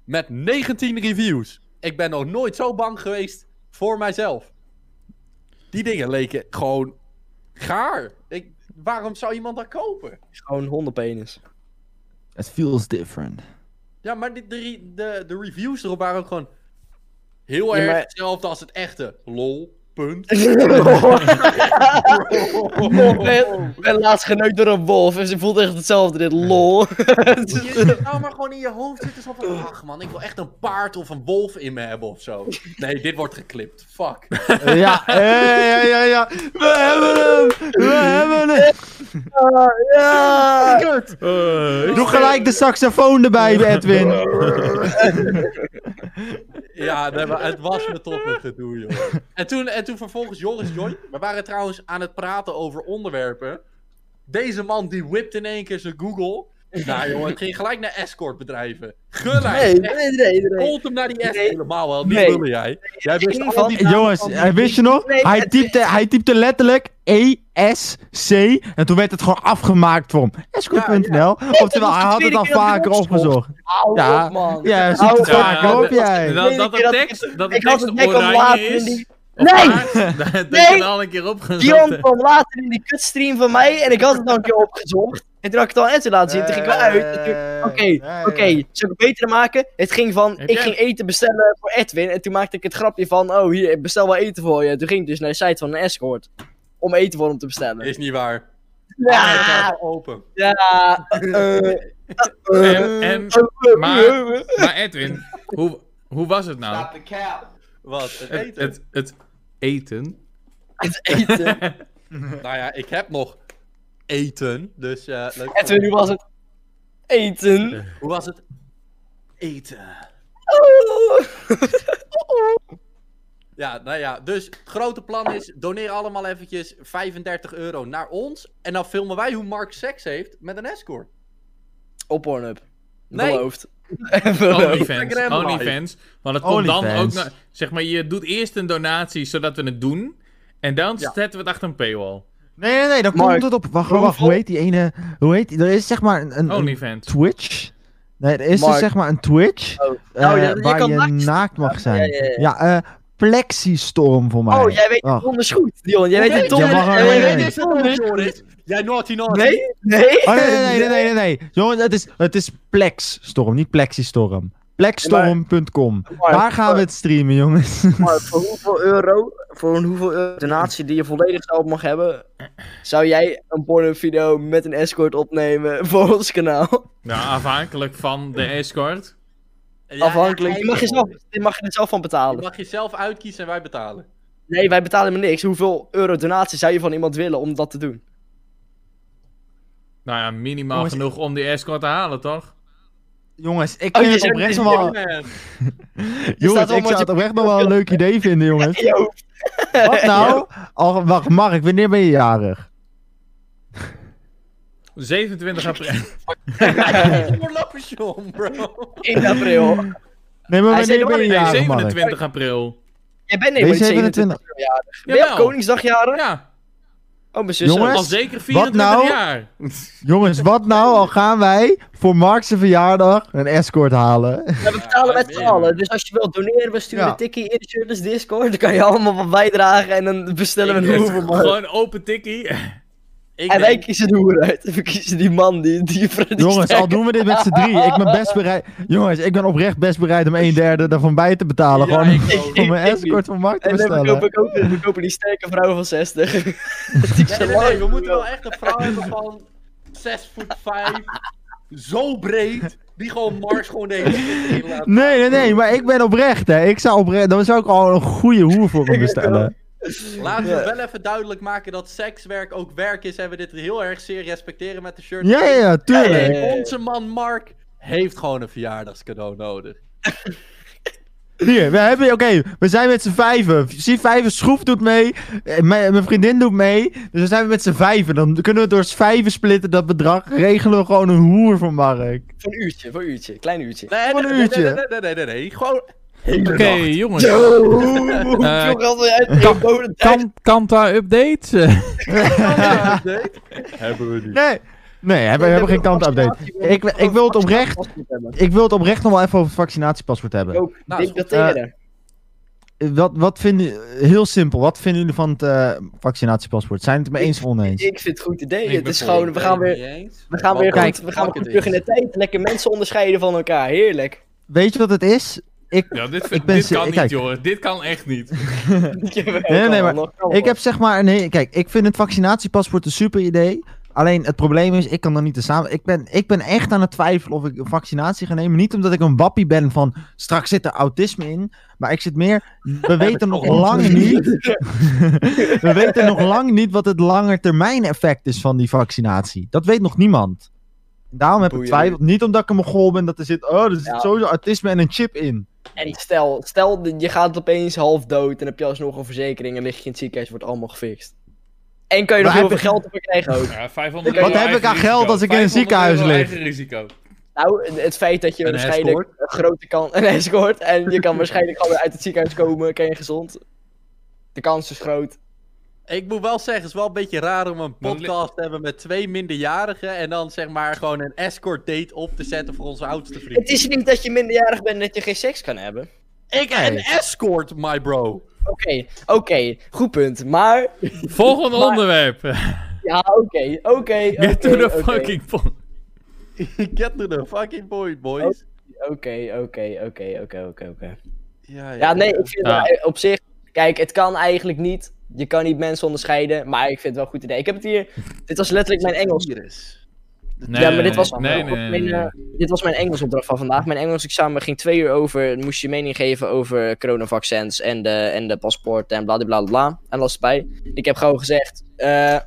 S3: Met 19 reviews. Ik ben nog nooit zo bang geweest voor mijzelf. Die dingen leken gewoon gaar. Ik, waarom zou iemand dat kopen?
S4: Gewoon hondenpenis.
S1: It feels different.
S3: Ja, maar die- de, re- de, de reviews erop waren ook gewoon heel
S4: Ja,
S3: erg
S4: maar-
S3: hetzelfde als het echte. Lol, punt.
S4: Ik ben, ik ben laatst geneukt door een wolf en ze voelt echt hetzelfde, dit lol. Het is-
S3: Je nou maar gewoon in je hoofd zitten zo van... Ach man, ik wil echt een paard of een wolf in me hebben of zo. Nee, dit wordt geklipt. Fuck.
S1: Eh, ja, ja, ja, ja, ja. We hebben hem, we hebben hem.
S4: ja!
S1: Kut. Doe gelijk de saxofoon erbij, Edwin.
S3: Ja, nee, maar het was me toch een gedoe, joh. En toen, en toen vervolgens Joris Joy. We waren trouwens aan het praten over onderwerpen. Deze man die whipt in één keer zijn Google. Nou jongen, het ging gelijk naar escortbedrijven.
S4: Nee,
S3: Gelijk.
S4: nee, nee, nee.
S3: Holt hem naar die escort
S4: Nee.
S3: helemaal wel. Niet
S4: Nee.
S3: willen jij. Jij wist
S4: Geen
S3: al
S4: van-
S3: die namen
S1: Jongens,
S3: van die
S1: hij wist je nog?
S4: Nee,
S1: Hij
S4: het
S1: typte, hij typte letterlijk ESC en toen werd het gewoon afgemaakt voor hem. Escort.nl. Oftewel, hij had het al
S4: tweede keer dat
S1: vaker
S4: hij opzocht.
S1: opgezocht.
S4: Hou
S1: Ja.
S4: op, man.
S1: Ja, hij ziet het
S4: Ja,
S1: vaker op,
S2: de-
S1: jij.
S2: Dat, Nou, dat de
S4: dat ik-
S2: tekst, dat de
S4: ik had
S2: tekst
S4: het nek al
S2: oranje
S4: later in
S2: is.
S4: die...
S2: of
S4: Nee!
S2: paars, dat heb
S4: Nee!
S2: ik al een keer opgezocht.
S4: Dion kwam later in die kutstream van mij en ik had het al een keer opgezocht. En toen had ik het al net laten zien, toen ging ik wel uit. En toen- Oké, oké, zou ik het beter maken? Het ging van,
S2: Heb
S4: ik
S2: jij-
S4: ging eten bestellen voor Edwin en toen maakte ik het grapje van, oh hier, ik bestel wel eten voor je. Toen ging ik dus naar de site van een escort om eten voor hem te bestellen.
S3: Is niet waar.
S4: Ja,
S3: Allemaal open.
S4: Ah, ja, eh,
S2: En, en, maar, maar Edwin, hoe, hoe was het nou?
S3: Wat? Het
S2: Het,
S3: eten.
S2: het, het eten?
S4: het eten.
S3: Nou ja, ik heb nog eten. Dus eh, leuk.
S4: Edwin, hoe was het? Eten.
S3: Hoe was het? Eten.
S4: Oh.
S3: Ja, nou ja, dus het grote plan is, doneer allemaal eventjes 35 euro naar ons. En dan filmen wij hoe Mark seks heeft met een escort.
S4: Op Pornhub.
S3: Nee.
S4: Beloofd.
S2: OnlyFans.
S3: Instagram live.
S2: OnlyFans. Want het komt dan ook
S1: OnlyFans.
S2: naar... Zeg maar, je doet eerst een donatie zodat we het doen. En dan
S3: Ja.
S2: zetten we het achter een paywall.
S1: Nee, nee, nee, dan
S4: Maar-
S1: komt het op. Wacht, wacht,
S4: Hoeveel?
S1: hoe heet die ene. Hoe heet die? Er is zeg maar een,
S2: Oh,
S1: een, een
S2: OnlyFans.
S1: Twitch. Nee, er is
S4: Maar-
S1: dus zeg maar een Twitch.
S4: Oh.
S1: eh,
S4: Oh, ja, je
S1: waar
S4: kan
S1: je nou-
S4: naakt-
S1: naakt, mag zijn.
S4: ja, ja, ja.
S1: eh, Plexistorm voor mij.
S4: Oh, jij weet het
S1: Wacht.
S4: donders goed, Dion. Jij
S3: Hoe
S4: weet het
S3: weet
S1: je-
S4: donders
S1: Ja, wacht,
S4: jij
S1: wacht, wacht.
S4: weet het donders goed.
S3: Jij naughty naughty.
S4: Nee? Nee?
S1: Oh, nee, nee, nee, nee, nee, nee. nee. Jongens, het is, het is Plexstorm, niet Plexistorm. Plexstorm.com.
S4: Maar-
S1: Daar gaan we het streamen, jongens.
S4: Maar voor hoeveel euro, voor een hoeveel euro donatie die je volledig zelf mag hebben, zou jij een porno-video met een escort opnemen voor ons kanaal?
S2: Nou, afhankelijk van de escort.
S3: Ja,
S4: Afhankelijk.
S3: ja,
S4: Je mag, je, zelf, je mag je er zelf van
S3: Je
S4: betalen.
S3: mag jezelf uitkiezen en wij betalen.
S4: Nee, wij betalen hem niks. Hoeveel euro donatie zou je van iemand willen om dat te doen?
S2: Nou ja, minimaal
S1: Jongens,
S2: genoeg om die escort te halen, toch?
S1: jongens, ik
S4: Oh,
S1: vind
S4: je
S1: het
S4: zegt-
S1: oprecht nog
S3: Oh,
S1: wel...
S3: man.
S1: Jongens,
S4: wel
S1: ik
S4: met
S1: zou
S4: je-
S1: het oprecht nog wel een leuk idee vinden, jongens.
S4: Yo.
S1: Wat nou? Al, wacht, Mark, wanneer ben je jarig?
S2: 27 april.
S3: Je wordt lappen, John, bro.
S4: In april.
S1: Nee, maar
S4: Hij zei
S1: wanneer ben je
S4: nog-
S2: Nee,
S1: jarig, Mark?
S2: 27 april.
S4: Jij bent
S1: Ben je
S4: helemaal niet
S1: 27?
S4: 27 jaar. Ben je op
S2: Jawel.
S4: Koningsdagjaren?
S2: Ja,
S4: Oh, mijn zus.
S1: Jongens.
S2: al zeker 24
S1: nou?
S2: jaar.
S1: Jongens, wat nou al gaan wij voor Mark zijn verjaardag een escort halen?
S4: We betalen met z'n
S3: Ja,
S4: allen. Dus als je wilt doneren, we sturen
S1: Ja.
S4: een tikkie in de Shirtless Discord. Dan kan je allemaal wat bijdragen en dan bestellen we een hoer voor Mark.
S2: Gewoon open tikkie.
S3: Ik
S4: En
S3: denk-
S4: wij kiezen de hoer uit. We kiezen die man, die, die, die
S1: Jongens, al
S4: sterke-
S1: doen we dit met z'n drie. Ik ben best bereid. Jongens, ik ben oprecht best bereid om een derde daarvan bij te betalen.
S3: Ja,
S1: gewoon
S3: ik ook.
S1: om een
S4: ik- ik-
S1: escort van Mark te
S4: En dan koop
S1: bestellen.
S4: ik ook we kopen die sterke vrouw van 60. Die
S3: Nee,
S4: zo
S3: nee, nee,
S4: lang
S3: we moeten wel
S4: wil.
S3: echt een vrouw hebben van 6 voet 5. Zo breed. Die gewoon Mars gewoon de hele wereld in laat.
S1: Nee, nee, nee, maar ik ben oprecht, hè. Ik zou oprecht. Dan zou ik al een goede hoer voor hem bestellen.
S3: Laten we
S4: Ja.
S3: wel even duidelijk maken dat sekswerk ook werk is en we dit heel erg zeer respecteren met de shirt.
S1: Ja, ja, ja, tuurlijk.
S4: ja, ja.
S3: Onze man Mark heeft gewoon een verjaardagscadeau nodig.
S1: Hier, we hebben. Oké, we zijn met z'n vijven. Zie, vijven schroef doet mee. Eh, Mijn, mijn vriendin doet mee. Dus dan zijn we met z'n vijven. Dan kunnen we het door z'n vijven splitten, dat bedrag. Regelen we gewoon een hoer voor Mark.
S4: Voor een uurtje, voor een uurtje. Klein uurtje.
S3: Nee,
S1: Voor een
S3: nee, nee,
S1: uurtje.
S3: Nee, nee, nee, nee, nee, nee. Gewoon.
S2: Oké, jongens.
S4: Hoeveel
S2: Eh,
S4: geld wil jij uitgeven? Boven de tijd.
S2: Kan, Kanta update?
S3: Hebben we niet.
S1: Nee, nee we, hebben- we hebben geen kant-update. Ik, ik wil het oprecht. Ik wil het oprecht nog wel even over het vaccinatiepaspoort hebben.
S4: Ook,
S3: Nou,
S4: ik dat
S1: eh,
S4: tegen haar.
S1: Eh, Wat, wat vinden, heel simpel, wat vinden jullie van het eh, vaccinatiepaspoort? Zijn het het mee eens of oneens?
S4: Ik vind het goed idee.
S2: Ik
S4: Het is
S2: ben
S4: gewoon, we gaan weer, we gaan weer
S1: Kijk,
S4: goed, we gaan
S3: fuck
S4: weer
S3: it
S4: terug in
S3: is.
S4: de tijd. Lekker mensen onderscheiden van elkaar. Heerlijk.
S1: Weet je wat het is?
S2: Ja, dit,
S1: Ik ben
S2: dit
S1: ze-
S2: kan niet,
S1: kijk.
S2: joh. Dit kan echt niet.
S1: nee,
S4: Kan wel,
S1: maar
S4: nog, kan
S1: Ik
S4: wel.
S1: heb zeg maar, nee, kijk, ik vind het vaccinatiepaspoort een super idee. Alleen het probleem is, ik kan er niet te samen. Ik ben, ik ben echt aan het twijfelen of ik een vaccinatie ga nemen. Niet omdat ik een wappie ben van straks zit er autisme in. Maar ik zit meer. We weten nog lang niet. we weten nog lang niet wat het langetermijneffect is van die vaccinatie. Dat weet nog niemand. Daarom heb ik
S4: Boeien.
S1: twijfel. Niet omdat ik een mogol ben dat er zit. Oh, er zit
S4: Ja.
S1: sowieso autisme en een chip in.
S4: En stel, stel dat je gaat opeens half dood en heb je alsnog een verzekering en lig je in het ziekenhuis, wordt allemaal gefixt. En kan je nog
S1: Maar
S4: heel veel
S1: heb
S4: geld op krijgen ook.
S2: Ja, 500
S4: Wat
S2: euro
S1: heb ik
S2: eigen
S1: aan geld
S2: risico.
S1: als ik in een
S2: 500
S1: ziekenhuis
S2: euro
S1: lig?
S2: eigen risico.
S4: Nou, het feit dat je
S3: Een
S4: waarschijnlijk een grote kan een escort en je kan waarschijnlijk gewoon uit het ziekenhuis komen, kan je gezond. De kans is groot.
S3: Ik moet wel zeggen, het is wel een beetje raar om een
S2: Dan li-
S3: podcast te hebben met twee minderjarigen en dan zeg maar gewoon een escort date op te zetten voor onze oudste vriend.
S4: Het is niet dat je minderjarig bent en dat je geen seks kan hebben.
S3: Ik een escort, my bro.
S4: Oké, oké, goed punt. Maar,
S2: Volgende
S4: Maar-
S2: onderwerp.
S4: ja, oké, oké. oké,
S2: Get to the
S4: oké.
S2: fucking point.
S3: Get to the fucking point,
S1: Oh.
S3: boys.
S4: Oké, oké, oké, oké, oké, oké.
S3: Ja,
S4: Ja, nee, ik vind
S2: Ja.
S4: het eh, op zich. Kijk, het kan eigenlijk niet. Je kan niet mensen onderscheiden, maar ik vind het wel een goed idee. Ik heb het hier. Dit was letterlijk mijn Engels.
S3: Virus.
S2: Nee,
S4: ja, maar dit was,
S2: nee, nee, nee,
S4: mijn,
S2: nee,
S4: eh, dit was mijn Engels opdracht van vandaag. Mijn Engels examen ging twee uur over. Moest je mening geven over coronavaccins en de, en de paspoort en bladibladibla. En dat bij. Ik heb gewoon gezegd: eh, eh,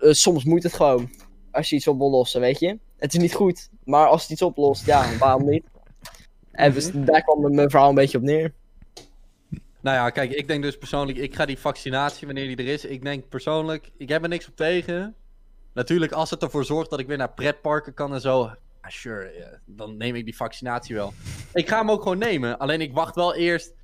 S4: soms moet het gewoon. Als je iets op wil lossen, weet je. Het is niet goed, maar als het iets
S2: Mhm.
S4: oplost, ja, waarom niet? En dus daar kwam mijn verhaal een beetje op neer.
S3: Nou ja, kijk, ik denk dus persoonlijk, ik ga die vaccinatie wanneer die er is. Ik denk persoonlijk, ik heb er niks op tegen. Natuurlijk, als het ervoor zorgt dat ik weer naar pretparken kan en zo. ah, sure, ja, dan neem ik die vaccinatie wel. Ik ga hem ook gewoon nemen. Alleen ik wacht wel eerst.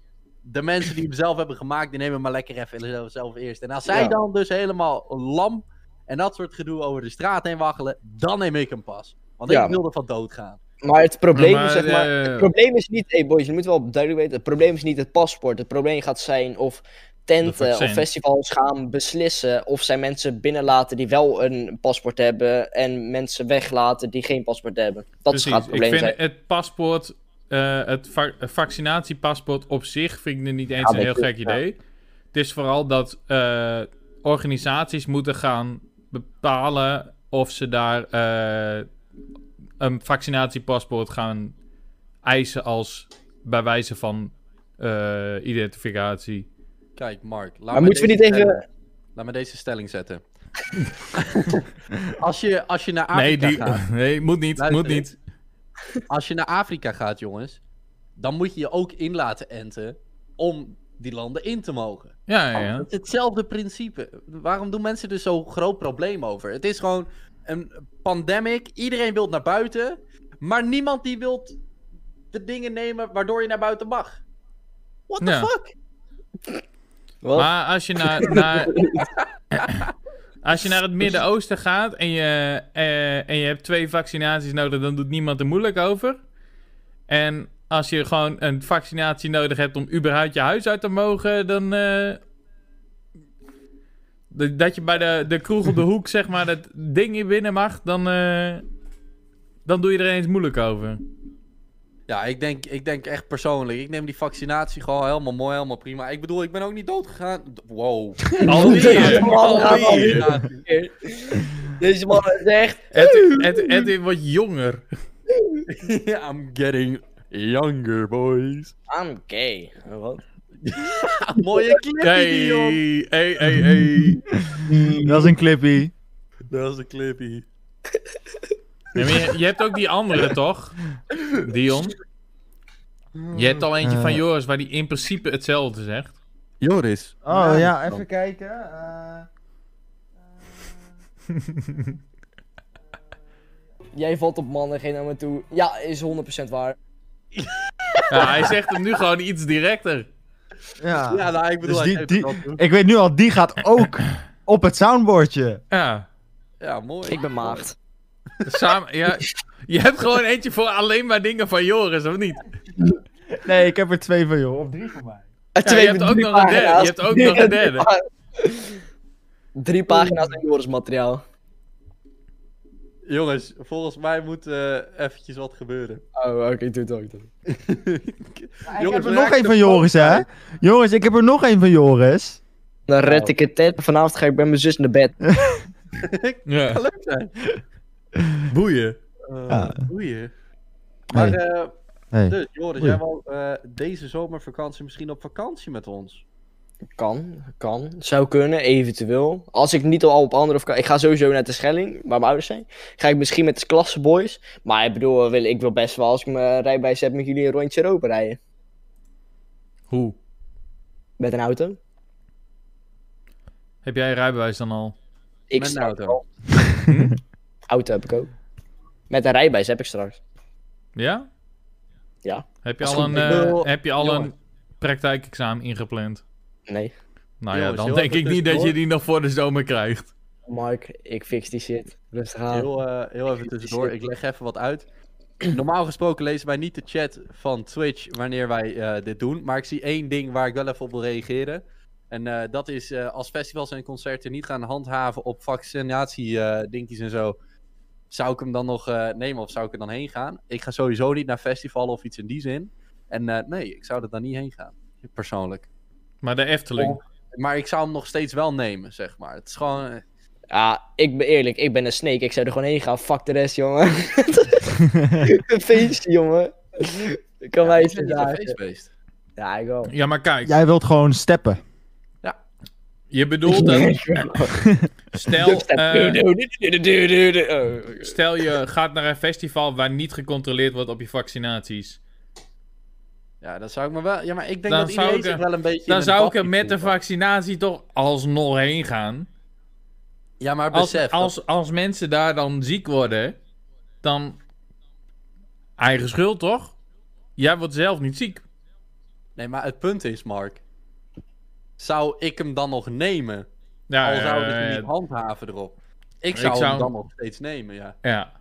S3: De mensen die hem zelf hebben gemaakt, die nemen hem maar lekker even zelf eerst. En als zij
S4: Ja.
S3: dan dus helemaal lam en dat soort gedoe over de straat heen waggelen, dan neem ik hem pas. Want
S4: Ja.
S3: ik wil er van doodgaan.
S4: Maar het probleem,
S2: Maar,
S4: is, zeg maar,
S2: eh,
S4: het probleem is niet, hey boys, je moet wel duidelijk weten, het probleem is niet het paspoort. Het probleem gaat zijn of
S2: De
S4: tenten
S2: vaccin.
S4: of festivals gaan beslissen of zij mensen binnenlaten die wel een paspoort hebben en mensen weglaten die geen paspoort hebben. Dat
S2: Precies.
S4: gaat het
S2: ik
S4: probleem
S2: vind
S4: zijn.
S2: het paspoort, eh, het va- vaccinatiepaspoort op zich, vind ik er niet eens
S4: Ja,
S2: een heel
S4: dat is-
S2: gek
S4: ja.
S2: idee. Het is vooral dat eh, organisaties moeten gaan bepalen of ze daar eh, een vaccinatiepaspoort gaan eisen als bij wijze van eh, identificatie.
S3: Kijk, Mark. Laat
S4: Maar moeten we
S3: deze
S4: niet even-
S3: stelling- Laat me deze stelling zetten. als, je, als je naar Afrika
S2: Nee, die,
S3: gaat...
S2: nee, moet niet,
S3: Luister,
S2: moet niet.
S3: Als je naar Afrika gaat, jongens, dan moet je je ook in laten enten om die landen in te mogen.
S2: Ja, ja, ja.
S3: Het is hetzelfde principe. Waarom doen mensen er zo'n groot probleem over? Het is gewoon een pandemic. Iedereen wil naar buiten, maar niemand die wil de dingen nemen waardoor je naar buiten mag. What the
S2: Ja.
S3: fuck?
S4: Wat?
S2: Maar als je naar, naar, als je naar het Midden-Oosten gaat en je, eh, en je hebt twee vaccinaties nodig, dan doet niemand er moeilijk over. En als je gewoon een vaccinatie nodig hebt om überhaupt je huis uit te mogen, dan. eh, d- dat je bij de, de kroeg op de hoek, zeg maar, dat ding in binnen mag, dan. eh, dan doe je er eens moeilijk over.
S3: Ja, ik denk, ik denk echt persoonlijk. Ik neem die vaccinatie gewoon helemaal mooi, helemaal prima. Ik bedoel, ik ben ook niet doodgegaan. D- Wow.
S2: Al die, eh,
S4: Al
S3: Al die
S4: die.
S3: vaccinaties.
S4: Deze man is echt...
S2: het, het, het wordt jonger.
S3: I'm getting younger, boys.
S4: I'm gay. Wat?
S3: Ah, Mooie clip,
S2: Hey,
S3: joh.
S2: hey, hey, hey.
S1: Dat is een clippy.
S3: Dat is een clippie.
S2: Nee, maar je, je hebt ook die andere, toch? Dion. Je hebt al eentje van Joris waar die in principe hetzelfde zegt.
S3: Joris.
S1: Oh ja,
S3: dan.
S1: even kijken. eh.
S4: Jij valt op mannen, geen naar me toe. Ja, is 100% waar.
S2: Ja, hij zegt hem nu gewoon iets directer.
S1: ja.
S3: Ja, nou, ik bedoel,
S1: Dus
S3: hij
S1: die-
S3: geeft
S1: die-
S3: het wel toe.
S1: Ik weet nu al, die gaat ook op het soundboardje.
S2: Ja,
S3: Ja, mooi.
S4: Ik ben maagd.
S2: samen, ja. Je hebt gewoon eentje voor alleen maar dingen van Joris, of niet?
S1: Nee, ik heb er twee van jou. Of drie van mij.
S4: En
S2: je hebt ook
S4: drie
S2: nog een derde,
S4: pagina's.
S2: je hebt ook nog een derde.
S4: Drie pagina's aan Joris materiaal.
S3: Jongens, volgens mij moet eh eventjes wat gebeuren.
S4: Oh, oké, doe het ook. Doe het.
S1: ik
S3: Jongens,
S1: heb er
S3: we
S1: nog
S3: raken
S1: één
S3: de
S1: van Joris, hè? Joris, ik heb er nog één van Joris.
S4: Dan red ik het tijd. Vanavond ga ik bij mijn zus naar bed.
S2: Ja.
S3: leuk zijn.
S2: Boeien.
S3: Eh,
S1: Ja.
S3: Boeien. Maar
S1: Hey.
S3: eh,
S1: Hey.
S3: dus, Joris,
S1: Boeien.
S3: jij wil eh, deze zomervakantie misschien op vakantie met ons?
S4: Kan, kan. Zou kunnen, eventueel. Als ik niet al op andere vakantie... Ik ga sowieso naar de Schelling, waar mijn ouders zijn. Ga ik misschien met de klasseboys. Maar ik bedoel, wil- ik wil best wel als ik mijn rijbewijs heb met jullie een rondje Europa rijden.
S2: Hoe?
S4: Met een auto.
S2: Heb jij je rijbewijs dan al?
S4: Ik
S3: Met een
S4: straks
S3: auto.
S4: wel. auto heb ik ook. Met een rijbewijs heb ik straks.
S2: Ja?
S4: Ja.
S2: Heb je
S4: Als
S2: al een,
S4: goed,
S3: ik
S2: eh,
S3: wil-
S2: heb je al een
S3: Jongen.
S2: praktijkexamen ingepland?
S4: Nee.
S2: Nou ja,
S3: Jongens,
S2: dan
S3: heel
S2: denk
S3: even
S2: ik niet dat je
S3: tussendoor.
S2: die nog voor de zomer krijgt.
S4: Mark, ik fix die shit. Rustig aan.
S3: Heel, eh, heel even tussendoor, ik leg even wat uit. Normaal gesproken lezen wij niet de chat van Twitch wanneer wij eh, dit doen. Maar ik zie één ding waar ik wel even op wil reageren. En eh, dat is eh, als festivals en concerten niet gaan handhaven op vaccinatie-dinkies en zo. Zou ik hem dan nog eh, nemen of zou ik er dan heen gaan? Ik ga sowieso niet naar festival of iets in die zin. En eh, nee, ik zou er dan niet heen gaan. Persoonlijk.
S2: Maar de Efteling.
S3: Maar ik zou hem nog steeds wel nemen, zeg maar. Het is gewoon. eh,
S4: Ja, Ah, ik ben eerlijk, ik ben een snake. Ik zou er gewoon heen gaan. Fuck de rest, jongen. een feestje, jongen. Kan mij
S3: ik
S4: eens
S3: ben niet een
S4: verdragen.
S3: feestbeest.
S4: Ja, ik wel.
S2: Ja, maar kijk.
S1: Jij wilt gewoon steppen.
S2: Je bedoelt dat. Stel, eh, Oh, stel je gaat naar een festival waar niet gecontroleerd wordt op je vaccinaties.
S3: Ja, dan zou ik me wel... Ja, maar ik denk
S2: Dan
S3: dat
S2: zou
S3: iedereen
S2: ik
S3: zich
S2: er-
S3: wel een beetje... in
S2: Dan
S3: een
S2: zou ik er
S3: bakje
S2: met de
S3: voelt.
S2: vaccinatie toch alsnog heen gaan.
S3: Ja, maar
S2: Als,
S3: besef... dat-
S2: als, als mensen daar dan ziek worden, dan. Eigen schuld toch? Jij wordt zelf niet ziek.
S3: Nee, maar het punt is, Mark... Zou ik hem dan nog nemen?
S2: Ja, eh,
S3: al zouden
S2: ja,
S3: ze hem
S2: ja,
S3: niet handhaven erop. Ik zou,
S2: zou-
S3: hem dan nog steeds nemen, ja.
S2: ja.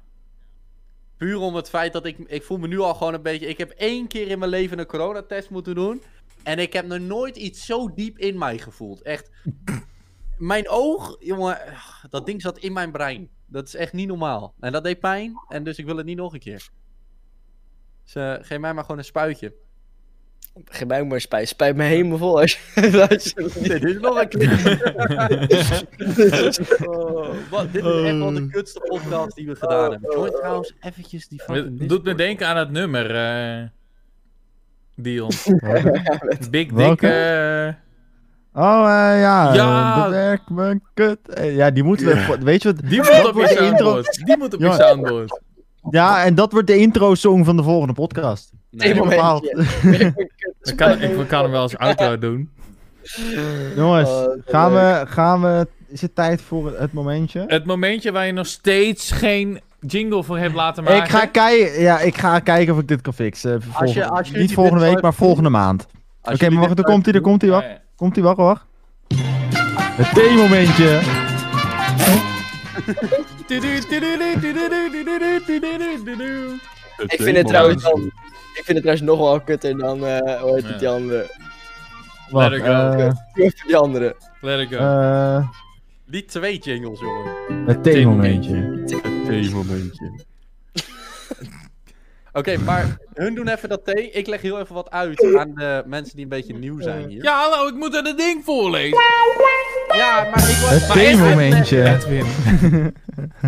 S3: Puur om het feit dat ik... Ik voel me nu al gewoon een beetje... Ik heb één keer in mijn leven een coronatest moeten doen. En ik heb nog nooit iets zo diep in mij gevoeld. Echt. mijn oog, jongen... ugh, Dat ding zat in mijn brein. Dat is echt niet normaal. En dat deed pijn. En dus ik wil het niet nog een keer. Dus eh, geef mij maar gewoon een spuitje.
S4: Geef mij ook maar spijt. Spijt me helemaal vol als je... als je-
S3: dit is nog een keer. wat, dit is echt wel de
S1: Oh.
S3: kutste podcast die we gedaan hebben. Join trouwens eventjes die fucking
S2: Het
S3: Discord.
S2: doet me denken aan het nummer. eh, Dion.
S1: Oh,
S2: Big Dick.
S1: Welke?
S2: eh,
S1: Oh, eh, ja.
S2: Ja.
S1: eh, Bewerk mijn kut. Eh, ja, die moeten we... Weet je wat?
S2: die
S1: dat
S2: moet op je
S1: wordt de intro.
S2: soundboard. Die moet op je
S1: Jongen.
S2: soundboard.
S1: Ja, en dat wordt de intro-song van de volgende podcast.
S3: Nee,
S4: Moment,
S1: Bepaald.
S3: Oh,
S2: Ik kan, ik kan hem wel als outro doen.
S1: Jongens,
S4: Oh, dat is
S1: gaan,
S4: leuk.
S1: we, gaan we... Is het tijd voor het momentje?
S2: Het momentje waar je nog steeds geen jingle voor hebt laten maken.
S1: Ik ga, kijken, ja, ik ga kijken of ik dit kan fixen. eh, Volgende-
S3: als jullie
S1: niet
S3: dit
S1: volgende week,
S3: ooit-
S1: maar volgende maand. Oké, maar wacht, er komt hij, er komt hij, wacht.
S2: Oh, Ja, ja.
S1: Komt hij, wacht, wacht. Het theemomentje.
S4: Ik vind het trouwens wel... Ik vind het trouwens nog wel kutter dan... eh hoe heet het, die andere?
S1: Wacht,
S2: Let it go.
S1: eh,
S4: Hoe heet die andere?
S2: Let it go.
S1: eh,
S3: Die twee jingles, jongen.
S1: het theemomentje.
S3: Een momentje. Oké, maar hun doen even dat thee. Ik leg heel even wat uit aan de mensen die een beetje nieuw zijn hier.
S2: Ja, hallo, ik moet er het ding voorlezen. Eh,
S3: Ja, maar ik wil...
S1: Het theemomentje.
S2: Edwin.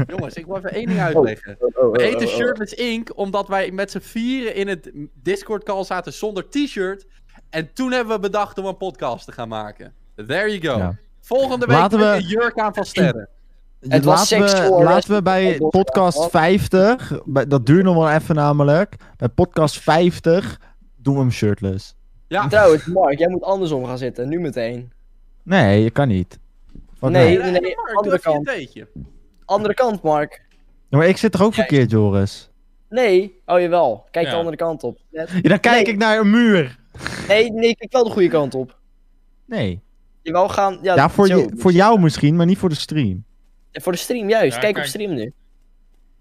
S3: Jongens, ik wil even één ding uitleggen.
S1: Oh,
S3: We eten Shirtless Inc. omdat wij met z'n vieren in het Discord call zaten zonder t-shirt. En toen hebben we bedacht om een podcast te gaan maken. There you go.
S1: Ja.
S3: Volgende week
S1: Laten
S3: met
S1: we-
S3: een jurk aan van sterren.
S4: Het was
S1: laten,
S4: seksueel,
S1: we,
S4: hè?
S1: laten we bij podcast 50, bij- dat duurt nog wel even namelijk. Bij podcast 50 doen we hem shirtless.
S3: Ja,
S4: Trouwens, Mark, jij moet andersom gaan zitten. Nu meteen.
S1: Nee, je kan niet. Fuck
S4: Nee.
S1: nee.
S3: Hey,
S4: nee,
S3: Mark,
S4: andere
S3: doe even je
S4: kant.
S3: theetje.
S4: Andere kant, Mark.
S1: Ja, maar ik zit toch ook verkeerd, Joris?
S4: Nee. Oh, jawel. Kijk
S2: Ja.
S4: de andere kant op. Net.
S1: Ja, dan kijk
S4: Nee.
S1: ik naar een muur.
S4: Nee, nee, kijk wel de goede kant op.
S1: Nee.
S4: Je wou gaan... Ja,
S1: Ja, voor,
S4: zo.
S1: je, voor jou misschien, maar niet voor de stream.
S4: Ja, voor de stream, juist.
S2: Ja,
S4: kijk
S2: kijk.
S4: op stream nu.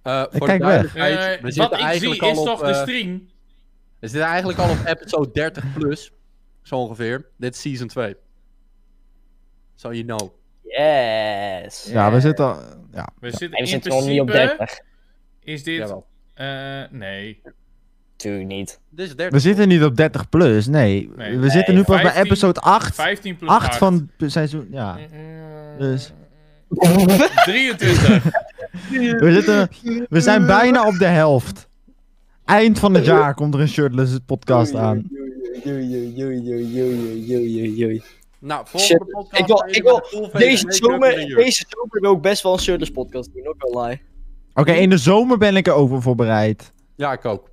S3: Eh, voor
S1: kijk
S3: de
S1: weg.
S3: duidelijkheid,
S2: Eh,
S3: we
S2: wat
S3: zitten
S2: ik zie
S3: eigenlijk
S2: is
S3: al
S2: toch
S3: op,
S2: de
S3: eh,
S2: stream.
S3: we zitten eigenlijk al op episode 30 plus, zo ongeveer. Dit is season 2. So you know.
S4: Yes.
S1: Ja, we zitten al... Ja.
S2: We zitten
S4: Nee, we
S2: in
S4: zitten nog niet op
S2: principe
S4: 30.
S2: is dit.
S3: Jawel.
S2: eh, nee.
S4: Tuurlijk niet.
S3: Dit is 30.
S1: We zitten niet op 30 plus, nee.
S2: Nee.
S1: we zitten nu pas bij
S2: 15,
S1: episode 8.
S2: 15 plus
S1: 8 van het seizoen, ja.
S2: Eh,
S1: Dus.
S2: 23.
S1: We, zitten, we zijn bijna op de helft. Eind van het jaar komt er een shirtless podcast aan.
S4: Joei, joei, joei, joei, joei, joei, joei, joei.
S3: Nou, volgende
S4: Shit.
S3: podcast...
S4: Ik wil-
S3: gaan jullie
S4: ik wil-
S3: met een full face
S4: Deze
S3: make-up en
S4: zomer,
S3: een jurk.
S4: deze zomer wil ik best wel een shirtless podcast doen, ook wel lie.
S1: Oké, in de zomer ben ik er over voorbereid.
S3: Ja, ik ook.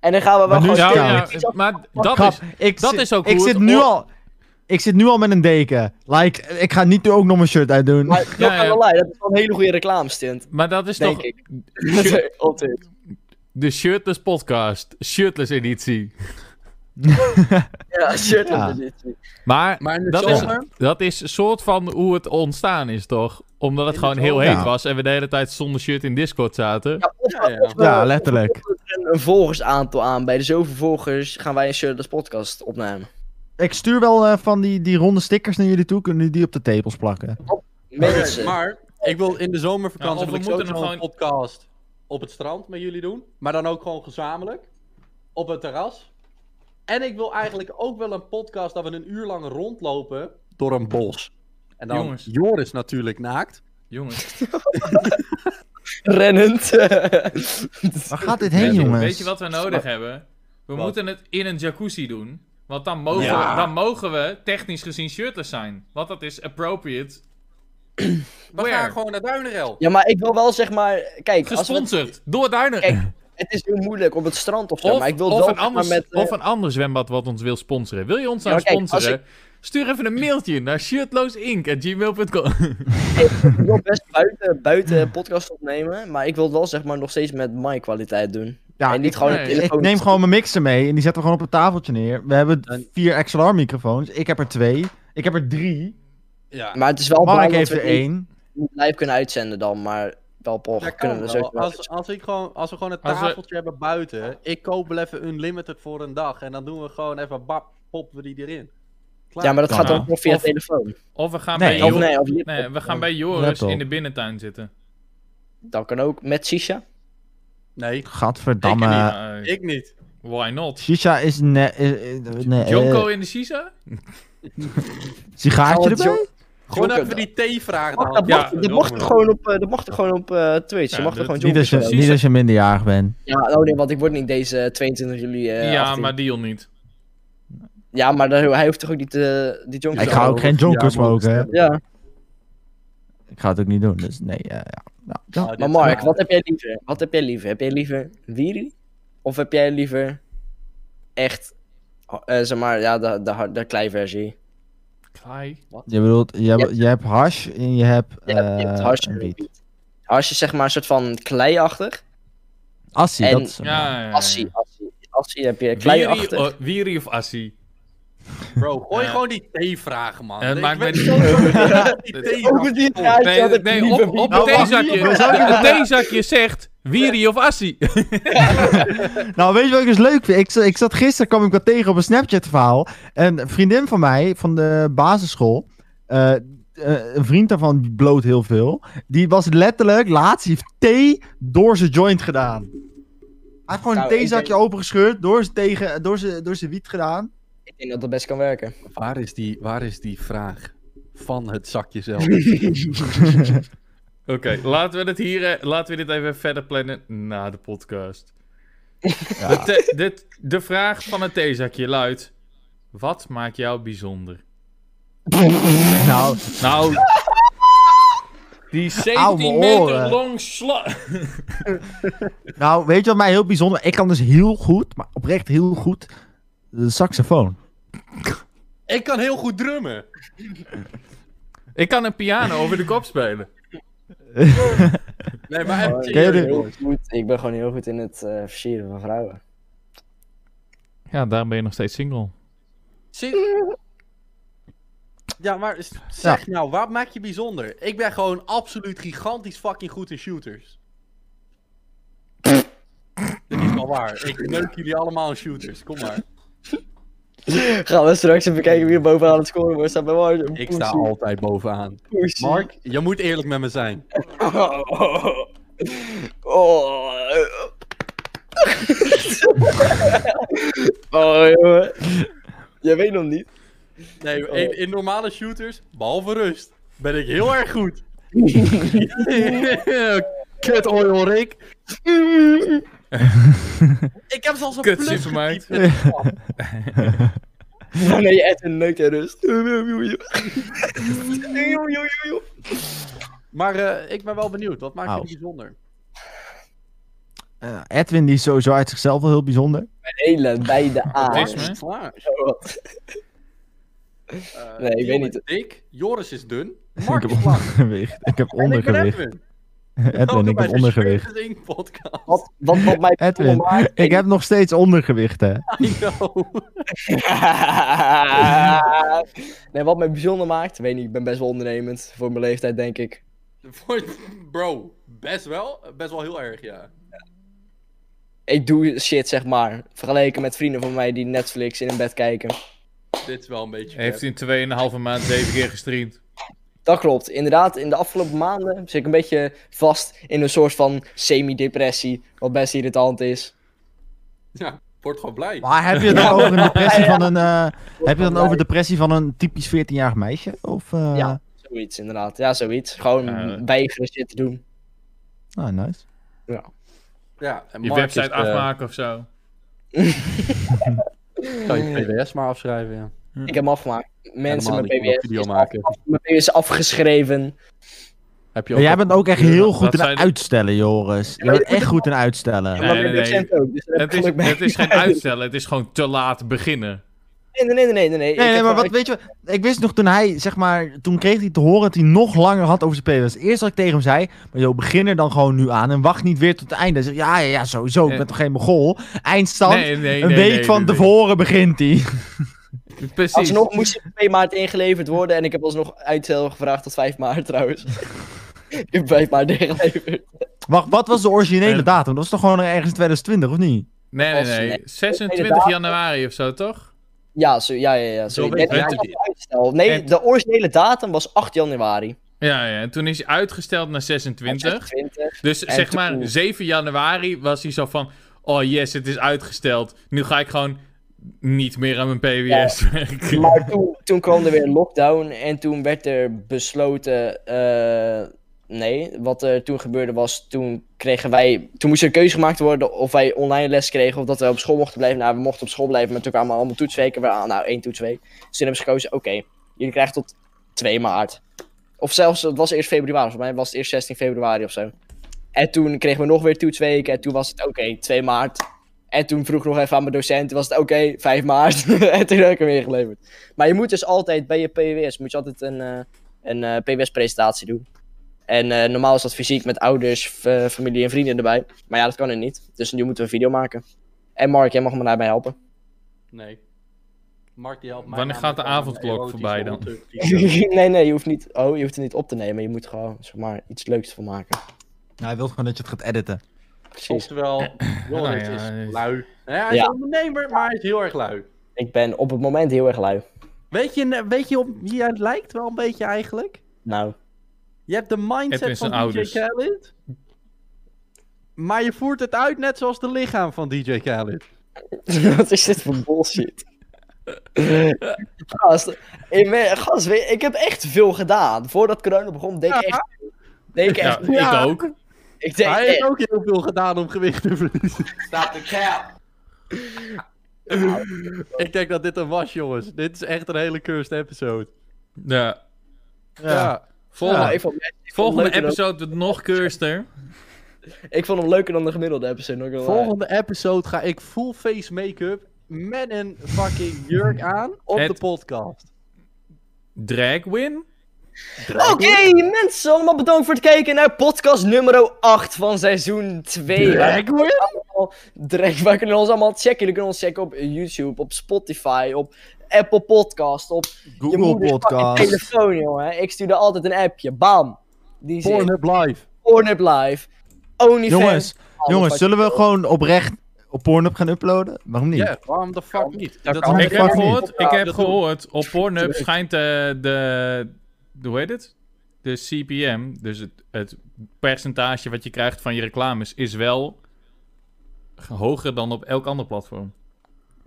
S4: En dan gaan we wel
S1: Maar nu
S4: gewoon...
S1: is
S2: ja,
S1: het
S2: ja,
S1: koud.
S2: maar dat
S1: Grap,
S2: is.
S1: ik
S2: dat
S1: zit-
S2: is ook
S1: ik
S2: hoe
S1: zit
S2: het
S1: nu
S2: oor-
S1: al, Ik zit nu al met een deken. Like, ik ga niet nu ook nog mijn shirt uitdoen.
S4: Maar
S2: Ja,
S4: nog aan
S2: ja.
S4: de lijn, dat is wel een hele goede reclame stunt,
S2: Maar dat is
S4: denk
S2: toch
S4: ik. Nee, altijd.
S2: de shirtless podcast, shirtless editie.
S4: Ja,
S1: Ja.
S4: shirtless editie.
S2: Maar,
S3: Maar in de
S2: dat, is,
S3: zomer...
S2: dat is een soort van hoe het ontstaan is, toch? Omdat het
S3: In
S2: gewoon
S3: de
S2: heel
S3: zomer.
S2: heet
S1: Ja.
S2: was en we de hele tijd zonder shirt in Discord zaten.
S4: Ja, of-
S3: Ja, ja.
S4: of we-
S1: Ja, letterlijk.
S4: of we er Een volgersaantal aan. Bij de zoveel volgers gaan wij een shirtless podcast opnemen.
S1: Ik stuur wel eh, van die, die ronde stickers naar jullie toe. Kunnen jullie die op de tepels plakken?
S3: Oké,
S4: Mensen.
S3: maar ik wil in de
S2: Ja,
S3: zomervakantie
S2: of
S3: wil
S2: we
S3: ik
S2: moeten
S3: sowieso
S2: hem
S3: een podcast op het strand met jullie doen. Maar dan ook gewoon gezamenlijk. Op het terras. En ik wil eigenlijk ook wel een podcast dat we een uur lang rondlopen door een bos. En dan
S2: Jongens.
S3: Joris natuurlijk naakt.
S2: Jongens,
S4: Rennend.
S1: Waar gaat dit
S2: weet
S1: heen,
S2: je-
S1: jongens?
S2: weet je wat we nodig hebben? We
S3: Wat?
S2: moeten het in een jacuzzi doen. Want dan mogen,
S3: Ja.
S2: we, dan mogen we technisch gezien shirtless zijn. Want dat is appropriate.
S3: We
S2: Where?
S3: gaan gewoon naar Duinerel.
S4: Ja, maar ik wil wel zeg maar. Kijk, als we,
S2: Gesponsord door Duinen.
S4: Kijk, het is heel moeilijk op het strand of zo.
S2: Of,
S4: maar ik wil
S2: of
S4: wel
S2: een
S4: zeg maar,
S2: ander,
S4: met, eh,
S2: of een ander zwembad wat ons wil sponsoren. Wil je ons
S4: Ja,
S2: nou
S4: maar kijk, als
S2: sponsoren? Stuur even een mailtje naar shirtloosinc.gmail.com.
S4: Ik wil best buiten, buiten podcast opnemen, maar ik wil het wel zeg maar nog steeds met my kwaliteit doen.
S1: Ja,
S4: en niet
S1: ik-
S4: gewoon een
S2: nee,
S1: Ik
S4: telefoon.
S1: neem gewoon mijn mixer mee en die zetten we gewoon op een tafeltje neer. We hebben
S3: En-
S1: vier XLR-microfoons. Ik heb er twee. Ik heb er drie.
S3: Ja,
S4: Maar het is wel
S1: Mark
S4: belangrijk
S1: heeft
S4: dat
S1: er
S4: we het niet-
S1: één.
S4: niet live kunnen uitzenden dan, maar wel op
S3: dat
S4: Oh, kunnen
S3: kan
S4: we
S3: wel.
S4: zo
S3: Als, als, ik gewoon, als we gewoon een
S2: Als we-
S3: tafeltje hebben buiten, ik koop wel even Unlimited voor een dag. En dan doen we gewoon even bap, poppen we die erin. Klaar.
S4: Ja, maar dat
S1: Kan
S4: gaat dan
S2: wel.
S4: wel via
S2: Of-
S4: telefoon.
S2: Of we gaan,
S1: Nee,
S2: bij,
S1: of
S4: Of
S2: Jor-
S4: nee, of niet.
S2: nee, we gaan bij Joris
S1: Laptop.
S2: in de binnentuin zitten.
S4: Dat kan ook met Sisha.
S3: Nee,
S1: Gadverdamme.
S2: Ja, eh,
S3: ik niet.
S2: why not?
S1: Shisha is... Nee, eh, eh, nee, eh,
S2: Jonko in de Sisa?
S1: sigaartje
S4: Oh,
S1: erbij?
S3: Gewoon
S4: Joker
S3: dat we die T-vraag
S4: Mag,
S3: dan.
S4: dat,
S2: Ja,
S4: mocht, dat,
S2: dat
S4: mocht
S2: moet.
S4: er gewoon op, eh, dat mocht er gewoon op eh, Twitch.
S2: Ja,
S4: je mag er
S2: dat-
S4: gewoon
S1: Niet als, je,
S4: jongens
S2: Precies.
S1: niet als je minderjarig bent.
S4: Ja, oh nee, want ik word niet deze 22 juli. eh,
S2: ja,
S4: 18.
S2: maar Dion niet.
S4: ja, maar daar- hij hoeft toch ook niet eh, die jongens
S1: Ik ga ook geen jonker smoken. hè.
S4: Ja,
S1: Ik ga het ook niet doen, dus nee. eh, ja. Nou, ja.
S3: Oh, dit-
S4: maar Mark,
S3: ja.
S4: wat heb jij liever? Wat heb jij liever? Heb jij liever Wiri? Of heb jij liever echt, oh, eh, zeg maar, ja, de, de, hard- de klei-versie?
S2: Klei.
S1: Je bedoelt, je, hebt-
S4: Ja.
S1: je hebt hash en je hebt...
S4: Ja, je hebt
S1: eh,
S4: hash
S1: een
S4: en
S1: wiet.
S4: wiet. Hash is zeg maar een soort van kleiachtig.
S1: Assie,
S4: En-
S1: dat is...
S2: Ja, ja, ja.
S4: Assie, assie, assie heb je
S2: Wiri,
S4: kleiachtig.
S2: o- Wiri of Assi?
S3: Bro, gooi
S2: Ja.
S3: gewoon die T-vraag, man.
S2: Eh,
S3: ik
S2: maakt mij
S3: weet
S2: niet-
S3: zo
S4: Ook met
S3: dat die T-vraag
S4: Oh, die
S3: komt.
S4: kaartje had
S2: Nee,
S4: ik
S2: nee
S4: liever
S2: op,
S4: wiet.
S2: op
S1: Nou,
S2: een
S1: wacht,
S2: theezakje.
S1: we zouden-
S2: Op een theezakje zegt Wiri of Assi.
S1: Nou, weet je wat ik dus leuk vind? Ik, za- ik zat gisteren, kwam ik wat tegen op een Snapchat-verhaal. En een vriendin van mij, van de basisschool, eh, eh, een vriend daarvan die bloot heel veel. Die was letterlijk, laatst, die heeft thee door zijn joint gedaan. Hij heeft gewoon een
S4: Nou, ik
S1: theezakje
S4: denk-
S1: opengescheurd, door zijn, tegen, door, zijn, door zijn wiet gedaan.
S4: Ik denk dat dat best kan werken.
S3: Waar is, die, waar is die vraag van het zakje zelf?
S2: Oké, laten, we dit hier, eh, laten we dit even verder plannen na de podcast. De, te- dit- de vraag van het theezakje luidt... Wat maakt jou bijzonder?
S1: Nou,
S2: Nou... Die 17 meter
S1: oren.
S2: long slag...
S1: nou, weet je wat mij heel bijzonder... Ik kan dus heel goed, maar oprecht heel goed, de saxofoon.
S3: ik kan heel goed drummen.
S2: Ik kan een piano over de kop spelen.
S3: Nee, maar
S4: Oh,
S3: even
S4: ik,
S1: Ken je
S3: serieus,
S1: dit?
S4: heel
S3: jongens.
S4: goed. ik ben gewoon heel goed in het eh, versieren van vrouwen.
S2: Ja, daarom ben je nog steeds single.
S3: Zie- Ja, maar s- zeg nou, wat maak je bijzonder? Ik ben gewoon absoluut gigantisch fucking goed in shooters. Dit is wel waar. Ik neuk jullie allemaal in shooters. Kom maar.
S4: Gaan we straks even kijken wie er bovenaan het scorebord staat bij Mark.
S3: Ik sta altijd bovenaan.
S4: Poesie.
S3: Mark, je moet eerlijk met me zijn.
S4: Oh, oh, oh. Oh, jongen. Jij weet nog niet.
S3: Nee, in, in normale shooters, behalve rust, ben ik heel erg goed. Kut oil, Rick. ik heb zelfs een
S2: Kut
S3: plus
S2: supermarkt.
S3: getypt met de kwam.
S4: Wanneer je echt een neuk dus- en rust.
S3: Maar eh, ik ben wel benieuwd, wat maakt
S1: Au.
S3: je bijzonder?
S1: Eh, Edwin, die is sowieso uit zichzelf wel heel bijzonder.
S4: Hele bij de A.
S2: Autisme. Is
S3: Klaar. Eh,
S4: Nee, ik weet
S3: Dion
S4: niet.
S3: is dik, Joris is dun, Mark
S1: ik
S3: is
S1: heb
S3: lang.
S1: ondergewicht. Ik heb
S3: En ik ben
S1: ondergewicht.
S3: Edwin.
S1: Edwin, ik heb
S4: dus.
S1: ondergewicht.
S3: podcast.
S4: Wat, wat, wat mij
S1: Edwin,
S4: maakt-
S1: ik heb nog steeds ondergewicht, hè.
S3: I know.
S4: nee, wat mij bijzonder maakt, weet niet, ik ben best wel ondernemend voor mijn leeftijd, denk ik.
S3: Voor- Bro, best wel. Best wel heel erg, ja.
S4: Ik doe shit, zeg maar, vergeleken met vrienden van mij die Netflix in hun bed kijken.
S3: Dit is wel een beetje...
S2: Heeft in 2,5 maand 7 keer gestreamd.
S4: Dat klopt. Inderdaad, in de afgelopen maanden zit ik een beetje vast in een soort van semi-depressie, wat best irritant is.
S3: Ja, word gewoon blij.
S1: Maar heb je het dan over een depressie
S4: Ja, ja.
S1: van een... eh, heb je het dan over depressie van een typisch 14-jarig meisje? Of, eh,
S4: Ja. Zoiets, inderdaad. Ja, zoiets. Gewoon
S2: Ja.
S4: weigeren shit te doen.
S1: Ah, nice.
S3: Ja, en
S2: Je
S3: Mark
S2: website
S3: is, eh,
S2: afmaken of zo.
S3: Zou je PDS maar afschrijven, ja.
S4: Ik heb hem afgemaakt. Mensen,
S3: Helemaal
S4: mijn
S3: niet, je moet
S4: PBS,
S3: video
S4: is af-
S3: maken.
S4: af- mijn PBS is afgeschreven.
S3: Heb je
S1: Ja, jij bent ook echt heel goed
S2: Dat
S1: in
S2: zijn-
S1: uitstellen, Joris. Je
S4: maar
S1: bent
S4: je moet
S1: echt goed in uitstellen.
S2: Ja,
S4: maar
S2: nee,
S4: met
S2: nee.
S4: accent ook. Dus daar heb
S2: Het is,
S4: ik geluk mee.
S2: het is geen uitstellen, het is gewoon te laat beginnen.
S4: Nee, nee, nee, nee. Nee, nee.
S1: Nee,
S4: Ik
S1: nee,
S4: heb
S1: maar
S4: wel-
S1: wat weet je, wat- ik wist nog toen hij, zeg maar, toen kreeg hij te horen dat hij nog langer had over zijn PWS. Eerst wat ik tegen hem zei, maar joh, begin er dan gewoon nu aan en wacht niet weer tot het einde. Hij zegt, ja, ja, ja, sowieso, ik
S2: Eh.
S1: ben toch geen mogol. Eindstand,
S2: nee, nee,
S1: een
S2: nee,
S1: week
S2: nee,
S1: van
S2: nee, nee.
S1: tevoren begint hij.
S2: Precies.
S4: Alsnog moest hij op 2 maart ingeleverd worden en ik heb alsnog uitstel gevraagd tot 5 maart trouwens. ik heb 5 maart ingeleverd.
S1: Wacht, wat was de originele
S2: Eh.
S1: datum? Dat was toch gewoon ergens in 2020, of niet?
S2: Nee, nee,
S4: Als-
S2: nee.
S4: nee.
S2: 26
S4: Inderdaad.
S2: januari of zo, toch?
S4: Ja, zo, ja, ja, ja. Sorry.
S3: Zo
S4: Nee,
S3: weet
S4: dat
S3: je
S4: was
S3: het.
S4: uitstel. nee,
S2: En-
S4: de originele datum was 8 januari.
S2: Ja, ja. En toen is hij uitgesteld naar 26.
S4: 20.
S2: Dus
S4: En
S2: zeg
S4: toen-
S2: maar, 7 januari was hij zo van... Oh yes, het is uitgesteld. Nu ga ik gewoon niet meer aan mijn PBS werken.
S4: Maar toen, toen kwam er weer een lockdown en toen werd er besloten. eh, nee, wat er toen gebeurde was, toen kregen wij. Toen moest er een keuze gemaakt worden of wij online les kregen of dat we op school mochten blijven. Nou, we mochten op school blijven, maar toen kwamen allemaal toetsweken. We, ah, nou, één toetsweek. Dus toen hebben ze gekozen, oké, jullie krijgen tot 2 maart. Of zelfs, het was eerst februari, volgens mij was het eerst 16 februari of zo. En toen kregen we nog weer toetsweken en toen was het, oké, 2 maart. En toen vroeg ik nog even aan mijn docent, was het oké, 5 maart. en toen heb ik hem ingeleverd. Maar je moet dus altijd bij je PWS moet je altijd een, eh, een PWS-presentatie doen. En eh, normaal is dat fysiek met ouders, f- eh, familie en vrienden erbij. Maar ja, dat kan er niet. Dus nu moeten we een video maken. En Mark, jij mag me daarbij helpen.
S3: Nee. Mark die helpt mij.
S2: Wanneer gaat de
S3: namelijk aan een
S2: avondklok
S3: erotische
S2: voorbij dan?
S3: ondertiteling.
S4: nee, nee, je hoeft, niet, oh, je hoeft er niet op te nemen. Je moet gewoon zeg maar, iets leuks van maken.
S1: Nou, hij wil gewoon dat je het gaat editen.
S4: Precies.
S3: Oftewel, Joris
S2: ja, hij
S3: Eh, is
S5: eh,
S2: is-
S3: lui. Nou ja, hij is
S4: Ja.
S3: een ondernemer, maar hij is heel erg lui.
S4: Ik ben op het moment heel erg lui.
S3: Weet je, eh, weet je op wie hij lijkt wel een beetje eigenlijk?
S4: Nou,
S3: Je hebt de
S2: Edwin
S3: mindset
S2: zijn
S3: van DJ
S2: ouders.
S3: Khaled. Maar je voert het uit net zoals de lichaam van DJ Khaled.
S4: wat is dit voor bullshit? gast, ik, ben- gast, weet- ik heb echt veel gedaan. Voordat corona begon, deed ik echt... Deed ik echt...
S2: Ja, ik
S3: Ja.
S2: ook.
S4: Ik deed
S3: hij
S4: echt-
S3: heeft ook heel veel gedaan om gewicht te verliezen.
S5: Stop the cap.
S3: Ik denk dat dit een was, jongens. Dit is echt een hele cursed episode.
S2: Ja.
S3: Ja.
S1: Ah.
S4: Nou,
S2: Volgende,
S4: ik, vond, ik vond hem
S2: volgende
S4: leuker
S2: episode wordt nog keurster.
S4: Dan, ik vond hem leuker dan de gemiddelde episode. Hoor. ik wil-
S3: Volgende episode ga ik full face make-up met een fucking jurk aan op
S2: Het-
S3: de podcast.
S2: Dragwin?
S4: Oké, mensen, allemaal bedankt voor het kijken naar podcast nummer 8 van seizoen 2. Drake, wij kunnen ons allemaal checken. Jullie kunnen ons checken op YouTube, op Spotify, op Apple Podcast, op je
S1: Google
S4: moeders fucking
S1: Podcast.
S4: telefoon, jongen. Ik stuurde altijd een appje. Bam. Die is in.
S3: Pornhub live.
S4: Pornhub Live. OnlyFans.
S1: Jongens,
S4: Alles
S1: jongens,
S4: wat
S1: zullen
S4: je
S1: we
S4: wil.
S1: gewoon oprecht op Pornhub gaan uploaden? Waarom niet?
S3: Ja, waarom de fuck niet?
S4: Dat
S3: Dat
S4: kan.
S3: is-
S2: Ik heb
S1: fuck
S2: gehoord,
S4: niet.
S2: ik heb
S3: Dat doen we.
S2: gehoord, op Pornhub schijnt eh, de, de, hoe heet het? De CPM, dus het, het percentage wat je krijgt van je reclames, is wel hoger dan op elk ander platform.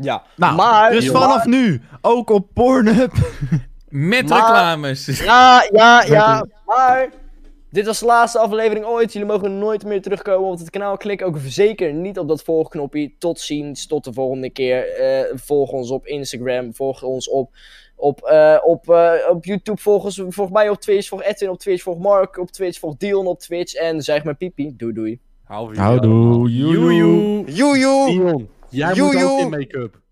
S4: Ja,
S1: Nou,
S4: maar...
S1: dus vanaf nu, ook op Pornhub.
S2: Met
S4: Maar-
S2: reclames!
S4: Ja, ja, ja, maar. Dit was de laatste aflevering ooit. Jullie mogen nooit meer terugkomen op het kanaal. Klik ook zeker niet op dat volgknopje. Tot ziens, tot de volgende keer. Eh, volg ons op Instagram, volg ons op, op, eh, op, eh, op YouTube. Volg, ons, volg mij op Twitch, volg Edwin op Twitch, volg Mark op Twitch, volg Dion op Twitch. En zeg maar pipi, doei doei.
S3: Hou weer.
S1: Houdoe, joe, joe.
S2: Joejoe.
S5: You, you.
S3: Dion, jij moet
S5: Joejoe.
S3: ook in make-up.